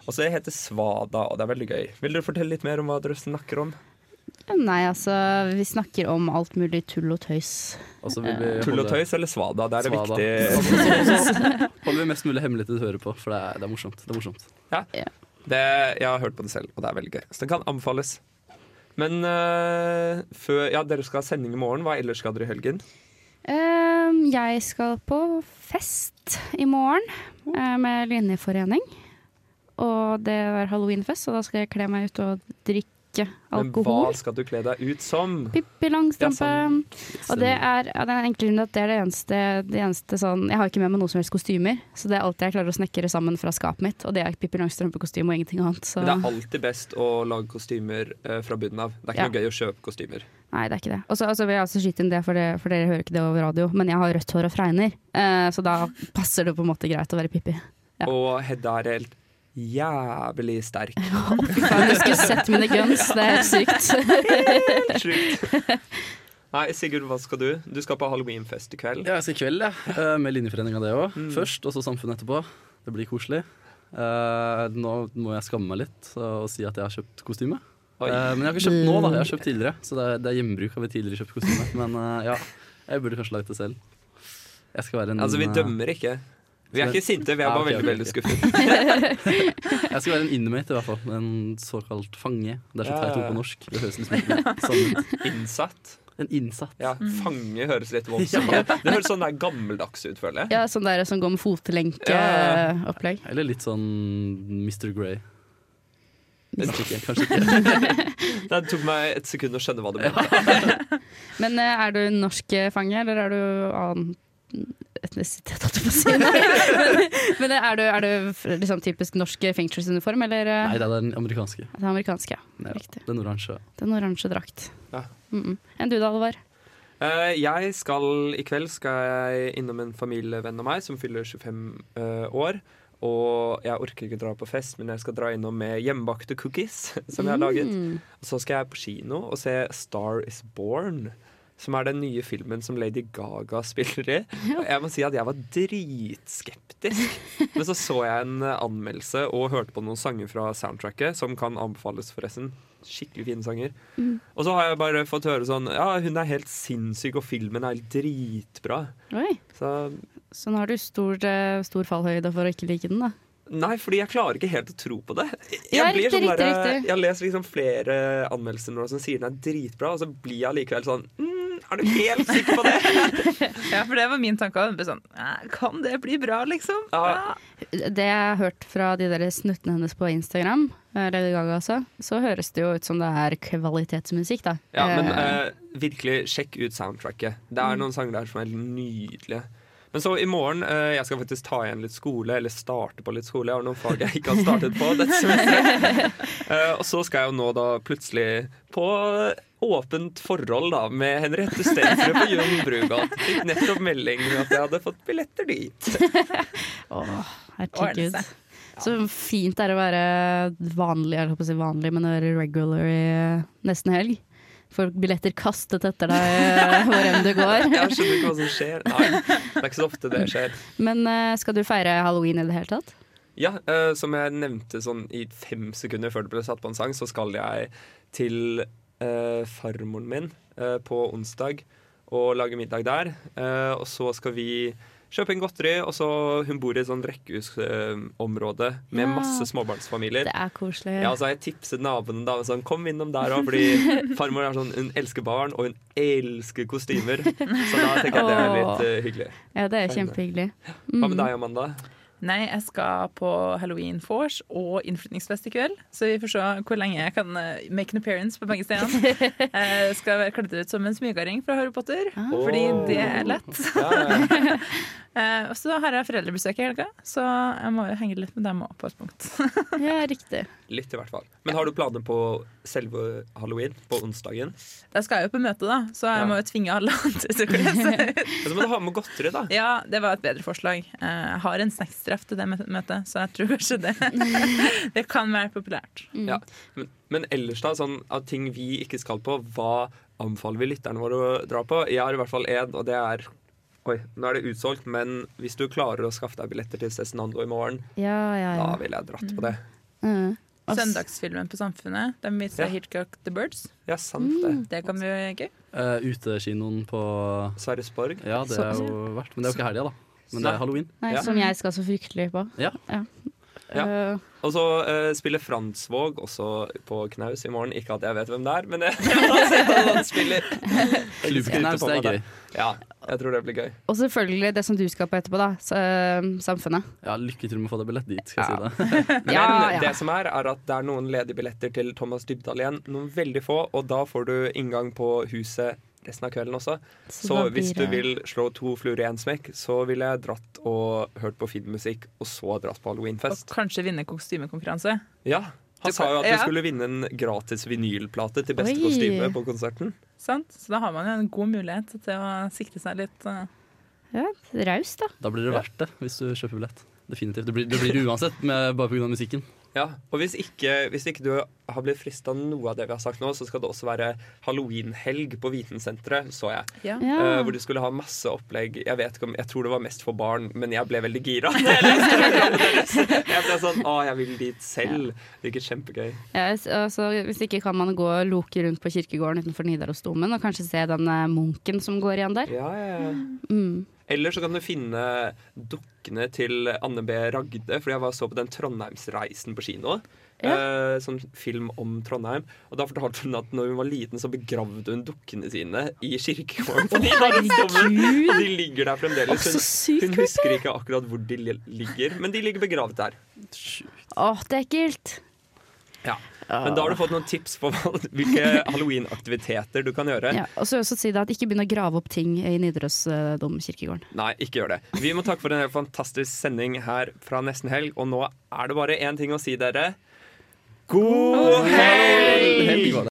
S2: Og så heter Svada, og det er veldig gøy. Vil dere fortelle litt mer om hva dere snakker om?
S6: Nei, altså Vi snakker om alt mulig tull og tøys.
S2: Eh, Tull og tøys eller Svada? Det er det
S5: Svada.
S2: viktig.
S5: *laughs* Holder vi mest mulig hemmelig til du hører på, for det er, det er morsomt. Det er morsomt.
S2: Ja. Det, jeg har hørt på det selv, og det er veldig gøy. Så den kan anbefales. Men eh, før, ja, dere skal ha sending i morgen. Hva ellers skal dere i helgen?
S6: Ehm, jeg skal på fest i morgen eh, med linjeforening. Og det er halloweenfest, og da skal jeg kle meg ut og drikke
S2: Men
S6: alkohol.
S2: hva skal du kle deg ut som?
S6: Pippi Langstrømpe.
S2: Ja, sånn.
S6: og det er av den enkle grunn at det er det eneste, det eneste sånn Jeg har ikke med meg noe som helst kostymer, så det er alt jeg klarer å snekre sammen fra skapet mitt, og det er Pippi Langstrømpe-kostyme og ingenting annet. Så.
S2: Men det er alltid best å lage kostymer eh, fra bunnen av. Det er ikke
S6: Ja.
S2: noe gøy å kjøpe kostymer.
S6: Nei, det er ikke det. Og så altså, vil jeg også skyte inn det for, det, for dere hører ikke det over radio, men jeg har rødt hår og fregner, eh, så da passer det på en måte greit å være Pippi.
S2: Og Hedda er helt jævlig sterk.
S6: Faen, Du skulle sett mine guns, det er helt sykt. *laughs*
S2: Helt sjukt. *laughs* Nei, Sigurd, hva skal du? Du skal på halloweenfest i kveld. Mm.
S5: Ja, jeg skal i kveld, jeg. eh, Med linjeforeninga det òg. Først, og så Samfunnet etterpå. Det blir koselig. Eh, nå må jeg skamme meg litt så- og si at jeg har kjøpt kostyme.
S2: Oi. Mm.
S5: Eh, men jeg har ikke kjøpt nå, da. Jeg har kjøpt tidligere. Så det er, det er hjemmebruk av et tidligere kjøpt kostyme. Men eh, ja, jeg burde kanskje laget det selv. Jeg skal være en
S2: Altså, vi
S5: eh,
S2: dømmer ikke. Vi er
S5: Så-
S2: ikke sinte, vi er
S5: Ja,
S2: bare
S5: ok,
S2: veldig, veldig
S5: ok, ok.
S2: *laughs* skuffet.
S5: Jeg skal være en inmate, i hvert fall. En såkalt fange. Det er så
S2: Ja,
S5: teit
S2: ja,
S5: ord
S2: ja.
S5: på norsk. Det høres liksom ikke sånn ut.
S2: Innsatt.
S5: En innsatt.
S2: Ja,
S6: Mm.
S2: fange høres *laughs* litt voldsomt
S5: Ja.
S2: ut. Det høres sånn der gammeldags ut, føler jeg.
S6: Ja, sånn der som går med eh, fotlenke-opplegg.
S5: Eller litt sånn Mr. Grey. Kanskje ikke. Kanskje ikke.
S2: Det tok meg et sekund å skjønne hva du mente.
S6: Men eh, er du norsk eh, fange, eller er du annen etnisitet, holdt jeg på å si? *laughs* Nei. Men, men er du, er du f- liksom typisk norsk fengselsuniform, eller eh,
S5: Nei, det er den amerikanske.
S6: det amerikanske? ja.
S5: Ja, den oransje.
S6: Den oransje drakt.
S2: Ja.
S6: Mm -mm. Enn du da, Alvar?
S2: Eh, jeg skal I kveld skal jeg innom en familievenn av meg som fyller 25 eh, år. Og jeg orker ikke dra på fest, men jeg skal dra innom med hjemmebakte *laughs* cookies. Som jeg har laget
S6: Mm.
S2: Og så skal jeg på kino og se Star Is Born. som er den nye filmen som Lady Gaga spiller i. Og jeg må si at jeg var dritskeptisk. Men så så jeg en eh, anmeldelse og hørte på noen sanger fra soundtracket, som kan anbefales, forresten. Skikkelig fine sanger.
S6: Mm.
S2: Og så har jeg bare fått høre sånn Ja, hun er helt sinnssyk, og filmen er helt dritbra.
S6: Oi.
S2: Så
S6: Så nå har du stor, eh, stor fallhøyde for å ikke like den, da.
S2: Nei, fordi jeg klarer ikke helt å tro på det. Jeg,
S6: Ja,
S2: blir
S6: riktig,
S2: sånn
S6: riktig,
S2: der,
S6: riktig.
S2: jeg leser liksom flere anmeldelser nå som sier den er dritbra, og så blir jeg allikevel sånn mm, Er du helt sikker?
S6: *laughs*
S7: Ja, for det var min tanke. også. Bare Sånn, "Æ, kan det bli bra, liksom? Ja.
S6: Det jeg har hørt fra de der snuttene hennes på Instagram, eh, Lady Gaga altså, så høres det jo ut som det er kvalitetsmusikk, da.
S2: Ja, men
S6: Eh,
S2: eh, virkelig, sjekk ut soundtracket. Det er noen sanger der som er helt nydelige. Men så i morgen eh, jeg skal faktisk ta igjen litt skole, eller starte på litt skole. Jeg har noen fag jeg ikke har startet på dette semesteret. Eh, og så skal jeg jo nå da plutselig på åpent forhold da med Henriette Stensrud på Jon Brugata. Fikk nettopp melding om at jeg hadde fått billetter dit. eh,
S6: Åh,
S2: Ordne
S6: herregud.
S2: seg.
S6: Så fint det er å være vanlig, jeg holdt på å si vanlig, men å være regular i eh, nesten helg. Får billetter kastet etter deg eh, hvor enn
S2: *laughs*
S6: du går.
S2: Jeg skjønner ikke hva som skjer. Nei, det er ikke så ofte det skjer.
S6: Men eh, skal du feire halloween i det hele tatt?
S2: Ja, eh, som jeg nevnte sånn i fem sekunder før det ble satt på en sang, så skal jeg til eh, farmoren min eh, på onsdag og lage middag der. Eh, og så skal vi kjøpe inn godteri, og så hun bor i et sånn rekkehusområde med
S6: Ja.
S2: masse småbarnsfamilier.
S6: Det er koselig.
S2: Ja, og så har jeg tipset naboene da, sånn, kom innom der òg,
S6: *laughs*
S2: fordi farmor er sånn, hun elsker barn, og hun elsker kostymer. Så da tenker jeg det er litt eh, hyggelig.
S6: Ja, det er kjempehyggelig.
S2: Hva
S6: Mm.
S2: med deg, Amanda?
S7: Nei, jeg skal på Halloween Force og innflytningsfest i kveld. Så vi får se hvor lenge jeg kan eh, make an appearance på begge stedene. Jeg skal være kledd ut som en smygarding fra Harry Potter, fordi det er lett. *laughs* Eh, Og så har jeg foreldrebesøk i helga, så jeg må jo henge litt med dem òg på et punkt.
S6: Ja, riktig.
S2: Litt i hvert fall. Men har du planer på selve halloween på onsdagen?
S7: Jeg skal jo på møte, da, så jeg må jo tvinge alle *laughs* andre til å kle seg ut.
S2: Men så må du ha med godteri, da.
S7: Ja, det var et bedre forslag. Eh, Jeg har en snackstraff til det mø- møtet, så jeg tror kanskje det Det kan være populært.
S2: Ja. Men, men ellers, da, sånn av ting vi ikke skal på, hva anbefaler vi lytterne våre å dra på? Jeg har i hvert fall én, og det er Oi, nå er det utsolgt, men hvis du klarer å skaffe deg billetter til Cezinando i morgen,
S6: Ja, ja, ja. Mm.
S2: da ville jeg dratt på det.
S6: Ass.
S7: Søndagsfilmen på Samfunnet. Den viser
S2: Ja.
S7: Hitchcock The Birds.
S2: Ja, sant det.
S7: Det kan bli gøy.
S5: Eh, utekinoen på
S2: Sverresborg.
S5: Ja, det er
S6: Så-
S5: jo verdt. Men det er jo ikke helga, da. Men det er halloween.
S6: Nei, Som jeg skal så fryktelig på.
S5: Ja.
S6: Eh,
S2: Og så eh, spiller Frandsvåg også på knaus i morgen. Ikke at jeg vet hvem det er, men *laughs* jeg har sett at han spiller.
S5: Klubbknute Knaus, det er
S2: på meg der.
S5: gøy.
S2: Ja, jeg tror det blir gøy.
S6: og selvfølgelig det som du skal på etterpå, da. Så, eh, samfunnet.
S5: Ja, Lykke til med å få deg billett dit, skal jeg si det.
S2: Men
S6: Ja, ja.
S2: det som er, er at det er noen ledige billetter til Thomas Dybdahl igjen. Noen veldig få, og da får du inngang på huset resten av kvelden også.
S17: Så
S2: Så,
S17: da blir
S2: hvis du
S17: det-
S2: vil slå to fluer i én smekk, så ville jeg dratt og hørt på filmmusikk, og så dratt på halloweenfest.
S7: Kanskje vinne kostymekonkurranse.
S2: Ja,
S7: Du
S2: han sa jo at
S7: kan-
S2: du
S7: ja.
S2: skulle vinne en gratis vinylplate til beste
S7: Oi.
S2: kostyme på konserten.
S7: Sant? Så da har man jo en god mulighet til å sikte seg litt. eh.
S6: Raust, da.
S5: Da blir det verdt det, hvis du kjøper billett. Definitivt. Det blir det, blir det uansett, med, bare pga. musikken.
S2: Ja, og hvis ikke, hvis ikke du har blitt frista av noe av det vi har sagt nå, så skal det også være halloweenhelg på Vitensenteret, så jeg.
S7: Ja.
S2: Eh, hvor de skulle ha masse opplegg. Jeg vet ikke om, jeg tror det var mest for barn, men jeg ble veldig gira. da Jeg leste programmet deres. Jeg ble sånn Å, jeg vil dit selv. Det gikk kjempegøy.
S6: Ja, s- altså, hvis ikke kan man gå og loke rundt på kirkegården utenfor Nidarosdomen og kanskje se den eh, munken som går igjen der.
S2: Ja, ja, ja.
S6: Mm.
S2: Eller så kan du finne dukkene til Anne B. Ragde, fordi jeg var og så på den Trondheimsreisen på kino. eh, som film om Trondheim. Og da fortalte hun at når hun var liten, så begravde hun dukkene sine i kirkegården. på Nidarosdomen.
S6: Herregud!
S2: Og de ligger der
S6: Å, så
S2: fremdeles. Hun,
S6: sykt
S2: hun husker ikke akkurat hvor de li- ligger, men de ligger begravet der.
S6: Åh, det er ekkelt!
S2: Ja. Men da har du fått noen tips på hva- hvilke
S6: *laughs*
S2: halloweenaktiviteter du kan gjøre.
S6: Ja, og så også si det at ikke begynn å grave opp ting i Nidarosdom kirkegården.
S2: Nei, ikke gjør det. Vi må takke for en helt fantastisk sending her fra nesten helg, og nå er det bare én ting å si, dere. God helg!